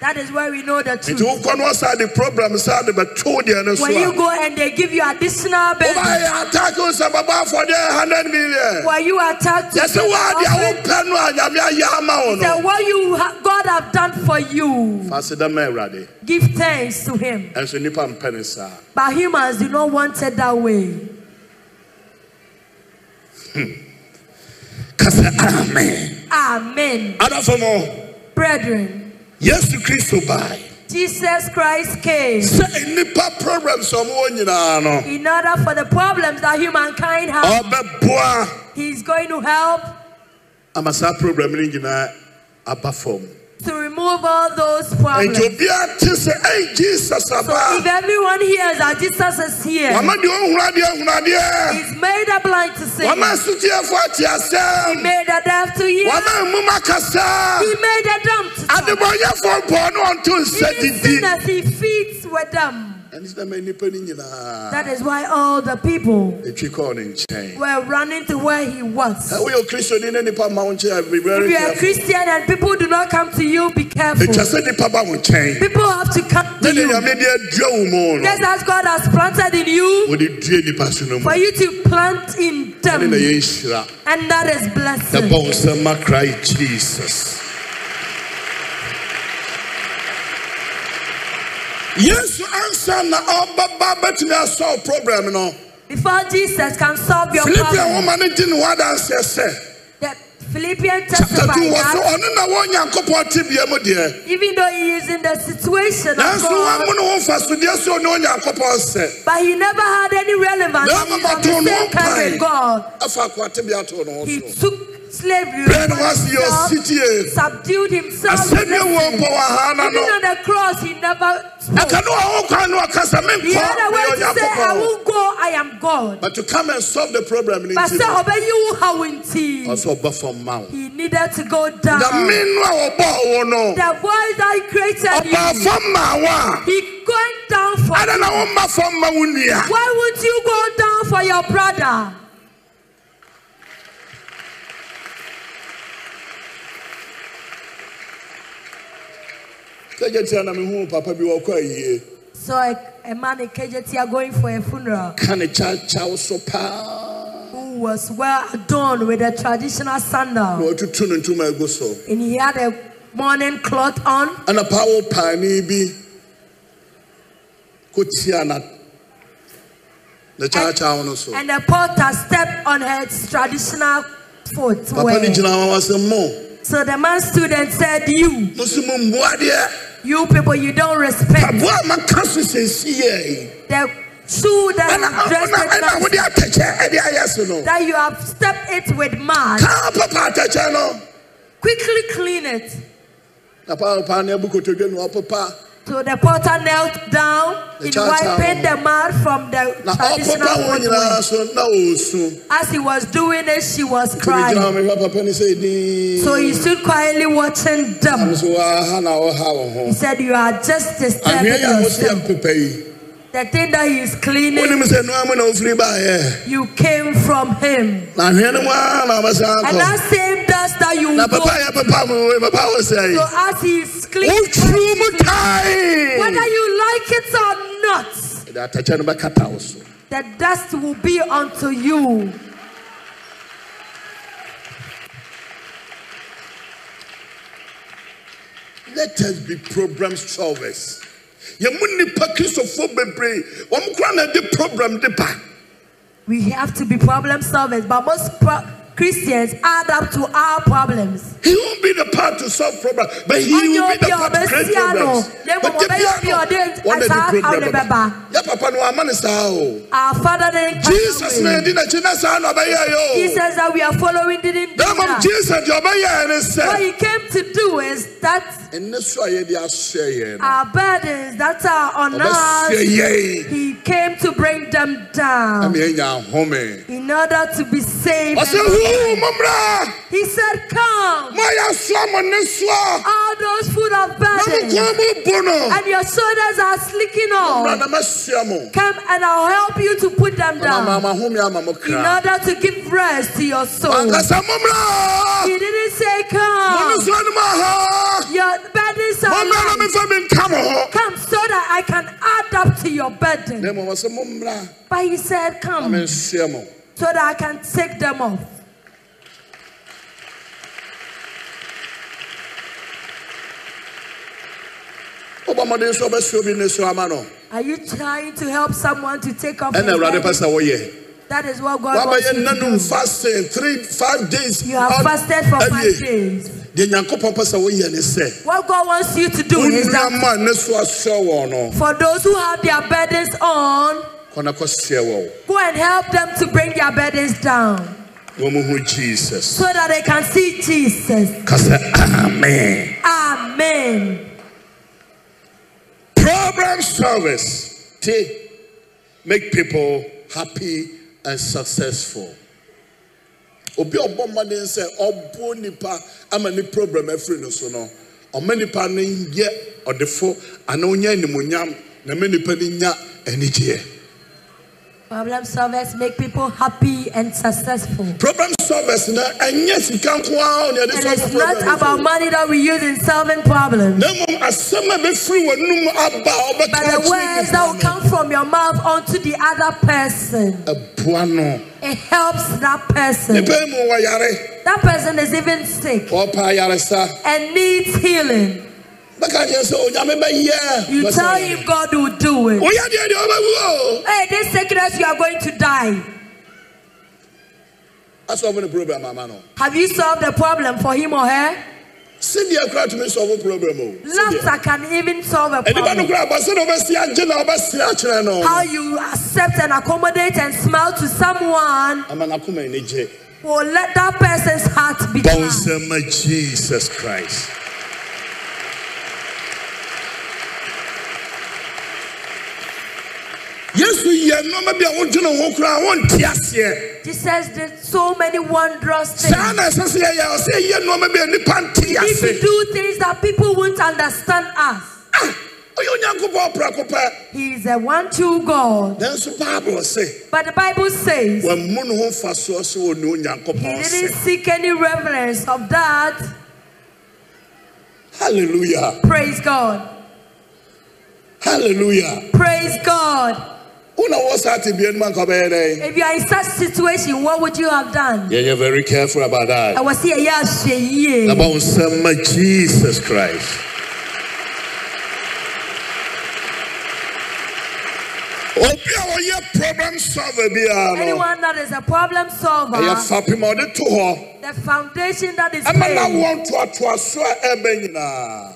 That is where we know the nti truth. wokɔ no ɔsa de problem saa de bɛtoo deɛ no so When you a go and they give you additional benefits, wobayɛ attack wo sɛ bɛbɔ afɔdeɛ 100 million when you attack yɛsɛ woade a wopɛ no a nyame ayɛ ama wo no that what you ha- God have done for you, fa se da ma awurade give thanks to Him. ɛnso nnipa mpɛ ne saa But humans do not want it that way. ka sɛ amen Amen. adafo mo Brethren, yesu kristo bae Jesus Christ came sɛ nnipa problems a ɔmowɔ nyinaa no in order for the problems that humankind has, ɔbɛboa He's going to help ama saa problem no nyinaa aba fam to remove all those problems. enti obiara te sɛ ei jesus So if aba everyone hears that Jesus is here, wama deɛ ɔhunu adeɛ ahunu adeɛ he's made the blind to see, wama asutiɛfoɔ ate asɛm made the deaf to hear, wama amum he akasa made the dumb to talk. adebɔyɛfoɔ mpɔɔ ne ɔnto nsa Even didi sinners he feeds with them. ɛne sɛ ma nnipa no nyinaa That is why all the people ɛtwi kɔɔ ne nkyɛn were running to where he was. Sɛ woyɛ kristoni ne nnipa ma wo nkyɛn a be If very you are a careful Christian and people do not come to you, be careful. ɛtwa sɛ nnipa ba wo nkyɛn People have to come ne to de you. nyame de adua wo mu no Just as God has planted in you, wɔde due nnipa so no mu for you to plant in ne them. na yɛnhyira And that is The blessing. bones of my cry, Jesus. Yes, answer na oh, ọba bá bẹ́tìmí asọ́ problem nọ. Before Jesus can solve your Philippian problem, woman ní di ni wàá dansi ẹsẹ̀. the Philippians Chapter testified two wọ so oh, that ọ̀nù na wọ́n yàn kópọ̀ ti bìí ẹmu diẹ. even though he is in the situation of Nanso wọ́n mú God, ni wọ́n fa sùdíẹ́ sí ọ̀nù wọ́n yàn kópọ̀ ẹsẹ̀. but he never had any relevance Then He is Mama of told the one same kind pie. with God. Ẹ̀fà kó àti bìí àtọ̀ ọ̀nù He wọ́n so. took slavery, Then upon was your himself, city. subdued himself. Asẹ́ni listened. wọ̀ bọ̀ wà hàn Even nánú. on the cross, he never spoke. Ẹ̀ka ní wàá wọ́n kọ́ àánú ọ̀kasà mi He nkọ́ had a mi way ọ̀nyà to say, I kópọ̀. won't go, I am God. But to come and solve the problem ní But ti say, "Oh, mi. obey you, how in tea. Ọ̀sọ̀ ọba fọ mma wọn. He needed to go down. Nyame nu a wɔbɔ wo no, The voice that created ɔba you, fɔ mma wo he going down for a, ada na womma fɔ mma wo nua. Why would you go down for your brother? Sɛgye tia na mehu papa bi wɔkɔ ayie. So a, a man in KJT are going for a funeral Ka ne kyakyaw so paa. who was well adorned with a traditional Na sandal. wɔtutu ne ntoma agu so. And he had a morning cloth on. Ɛna paa wo paani bi kɔtia na ne kyakyaw no so. And the porter stepped on her traditional Papa no footwear. gyina hɔ a wasɛ mo, So the man stood and said, You, mo so mummu adeɛ. you people, you don't respect Aboa a maka so sɛsi yɛ. the shoe that Ɛna you dressed ɛna- with ɛna wode last- atɛkyɛ ɛde ayɛ so no. that you have stepped it with mud. Kaa papa atɛkyɛ no. Quickly clean it. na paa paa na ɛbu kotodwe na ɔpepa So the porter knelt down The in child wiping the mud from the na traditional ɔpepa wɔn footwear. nyinaa so na ɔresu As he was doing it, she nti was ne gyina crying. ɔmehwɛ papa no sɛ dinn So he stood quietly watching nam them. so waaha na ɔha wo He ho said, You are just disturbing ahwea yi a yourself. woteɛ mpepa yi The thing that he is cleaning, wonim sɛ noa mu na wofiri baeɛ you came from him. na ahwea no mu ara na ɔbɛsan And akɔ that same dust that you na go, papa eh. yɛ pepa mu wei papa wo so sɛe as he is cleaning, woturu mu whether tae you like it or not, ɛde atɛkyɛ no bɛkata wo so the dust will be unto you. let us be problem solvers yɛmu nnipa kristofoɔ bebree wɔm kora na de problem de ba We have to be problem solvers, but most pro- Christians add up to our problems. He won't be the part to solve problems, but he Ɔnyɛ will be the obi a part to create ɔbɛsi ano. problems. Na But mmom, the ɔbɛyɛ obi a piano, ɔde one that asaa you awo create ne problem. bɛba. Yeah, Papa, no, I'm honest, how? Our Father didn't cut Jesus away. na di na china sa na obeye Jesus yo. that we are following didn't do Dem of that. Jesus your obeye ne se. What he came to do is that Enne so ye di ashe ye. our burdens that are on Obese us, ye. he came to bring them Am down ye nya home. in order to be saved. Ose and hu delivered. mumra. He said, Come, Mo ya so mo ne so. Na all those full of mo burden, kwa mo bono. and your shoulders are slicking Mra off. na ma sua mo. Come and I'll help you to put them Na ma down ma home ya ma mo in kra. order to give rest to your soul. Anga sa mumra. He didn't say, Mo Come, so no ma ha. your burdens are Mommra na light. memfa me nka mo ho. Come so that I can add up to your burden. Na mmom ɔsɛ mommra But he said, na Come mensoa mo. so that I can take them off. Wobɔ mmɔden sɛ wobɛsoa bi ne so ama no. Are you trying to help someone to take off? Ɛna his Awurade pɛ burden? sɛ woyɛ. That is what God wants Woabɛyɛ you to nanum do. fasting three five days. You have out- fasted for five awie. days. Deɛ Nyankopɔn pɛ sɛ woyɛ ne sɛ What God wants you to do wo is nua that ma ne so asoa wɔ no for those who have their burdens on, kɔ na kɔsoa wɔ wo. go and help them to bring their burdens down Na wɔmmɛhu Jesus. so that they can see Jesus. Ka sɛ amen. Amen. Problem service. Te make people happy and successful. obi a ɔbɔ mmaden sɛ ɔbɔ nipa ama ne problem afiri ne so no ɔma nipa no nyɛ ɔdefo anaa onyɛ animonyam na me nipa ni nya anigyeɛ Problem solvers make people happy and successful. problem solvers na ɛnyɛ sika nko ara ɔne ɛde And solve it's not problem about money that we use in solving problems, na mmom asɛm a bɛfiri w'anum aba a but wobɛka the akyerɛ words that will nipa no, come from your mouth onto the other person. ɛboa no It helps that person. nipa yi mu wɔyare That person is even sick ɔpa ayaresa and needs healing. bɛka kyerɛ sɛ onyame bɛyɛ You tell him God will do it. woyɛ deɛ deɛ wobɛwu o Hey, this sickness, you are going to die. asɔfo ne program ama no Have you solved the problem for him or her? sɛdeɛ kora tumi sɔfo program o Sɛdeɛ. Laughter can even solve a ɛnipa no problem. kora abɔse na wobɛsi agye na wobɛsere akyerɛ no How you accept and accommodate and smile to someone ama nakoma ani gye will let that person's heart be glad. bɔnsɛma jesus christ yesu yɛ nneɛma bi a wodwene ho koraa wonte aseɛ Jesus did so many wondrous saa things. na ɛsɛ sɛ yɛyɛ ɔsɛ yɛ nneɛma bi a nnipa nte If you ase do things that people won't understand us, Ah, ɔyɛ onyankopɔn prako pɛ He is a one true God. nanso bible sɛ But the Bible says wammu ne ho mfasoɔ sɛ ɔne He onyankopɔn didn't sɛ seek any reverence of that. halleluya Praise God. halleluya Praise God. wona wɔ saa te bia no mu anka wobɛyɛ dɛn If you are in such situation, what would you have done? Yeah, you're very careful about I that. was here yesterday. About some Jesus Christ. Obi a wɔyɛ problem solver biara no Anyone that is a problem solver, ɛyɛ fapem a ɔde to hɔ the foundation that is ɛma na laid, wɔn ntoatoaso a ɛbɛ nyinaa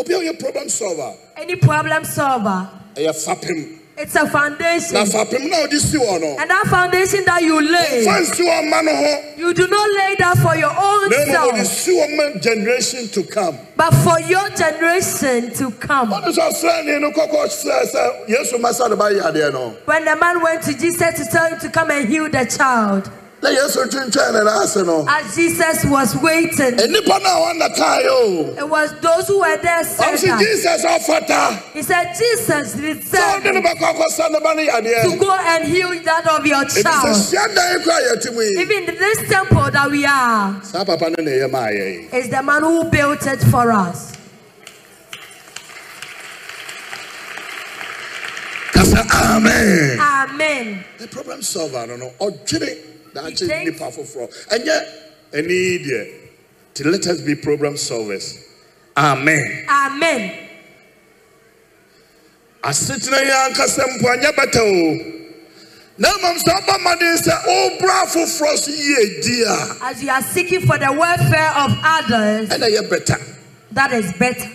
obi a wɔyɛ problem solver any problem solver, ɛyɛ fapem it's a foundation. na fapem na ɔde si wɔ no And that foundation that you lay, fa nsi wɔ ma no ho you do not lay that for your own na mmom ɔde self, si wɔ ma generation to come but for your generation to come. ɔno sɛ ɔsrani no kɔkɔ srɛ sɛ yesu masa ne bayɛ adeɛ no When the man went to Jesus to tell him to come and heal the child, na yesu twintwɛn ne n'ase no E as Jesus was waiting, nnipa no a wɔna kae o it was those who were there said ɔm sɛ that. jesus ɔfata He said, sɛ Jesus, wode return no bɛkɔ akɔsa ne ba no to yadeɛ go and heal that of your ɛbi sɛ child. hyiadan kora yɛte mu yi Even this temple that we are saa papa no ne ɛyɛ maa yɛ yi is the man who built it for us. ka sɛ amen Amen. the problem solver no no ɔdwene daakye He thinks- nnipa foforɔ ɛnyɛ ani deɛ nti let us be problem solvers amen Amen. asetena yi ankasa mpo anyɛ bɛtɛ o na mmom sɛ wobɔ mmɔden sɛ wobrɔ afoforɔ so yie di a As you are seeking for the welfare of others, ɛna yɛ bɛta that is better.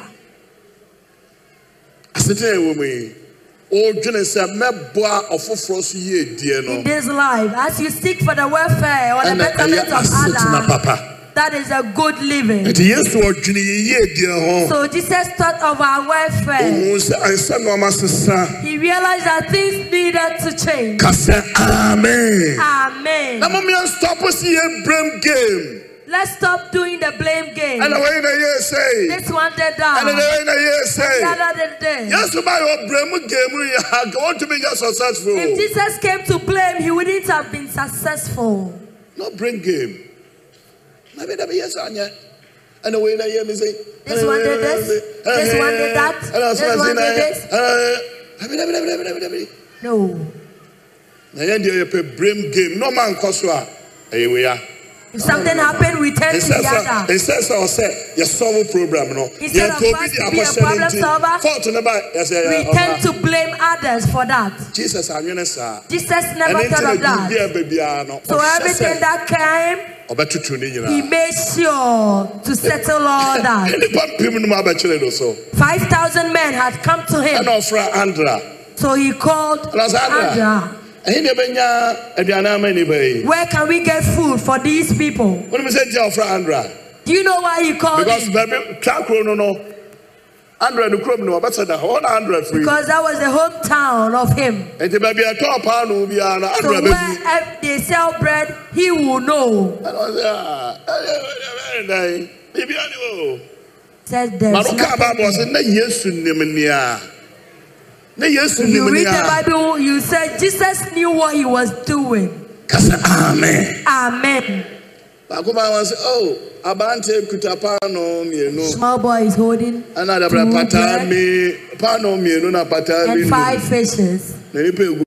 asetena yi wɔ mu yi wodwene sɛ mɛboa ɔfoforɔ so yie die In no this life, as you seek for the welfare or the ɛna ɛyɛ betterment of asetena others, papa that is a good living. nti yesu ɔdwene yi yie die ho So eh. Jesus thought of our welfare. ohun sɛ ansa na ɔma sesa He realized that things needed to change. ka sɛ amen Amen. na mom yɛnstɔpo sɛ yɛ brem game Let's stop doing the blame ɛna game. wɔyi na yɛɛ sɛi This one did ɛne that. wɔyi na yɛɛ The sɛi other did this. yesu ba yɛ ɔbrɛ mu gee mu yɛ a nka wɔntumi nyɛ successful If o Jesus came to blame, he wouldn't have been successful. no brain game na bi da bi yesu anyɛ ɛna wei na yɛ mi se This one did this, this one did that, this one did this. na bi da bi da bi da bi da bi da bi No. na yɛn deɛ yɛpɛ brain game na ɔma nkɔ so a ɛyɛ wei a If something happened, we turn to nsɛ the sɛ other. nsɛ sɛ ɔsɛ yɛsɔwo program no Instead of us to be a problem solver, fault ne ba We yɛsɛ tend ɔma to blame others for that. jesus anwene saa Jesus never ɛne thought ntina of that. biribiara baabiara no So ɔhyɛ everything sɛ that came, ɔbɛtutu ne he nyinaa made sure to settle all that. nnipa mpem no mu abɛkyerɛ no so 5,000 men had come to ɛna him. ɔfra andra So he called ɛna sɛ andra Andra. ɛhe ne ɛbɛnya aduane ama nnipa yi Where can we get food for these people? wonom sɛ ntia ɔfra andra Do you know why he called because him? baabi twa kuro no no andra no kurom no ɔbɛsɛ da hɔ na andra firi Because that was the hometown of him. enti baabi ɛtɔ ɔpaa no biara no So andra bɛfi wherever they sell bread, he will know. ɛna ɔsɛ a ɛyɛ ɛyɛ ɛyɛ ɛyɛ ɛyɛ ɛyɛ ɛyɛ ɛyɛ said there ma is no kaa nothing baabɔ sɛ na yesu nim nea na yesu You nim read the nea Bible, you said Jesus knew what he was doing. kasa amen Amen. baako baa wɔn sɛ oh abante kuta paano mmienu Small boy is holding ɛna dabra two pataa bread mi paano mmienu na pataa mi and nu five fishes. na nipa egu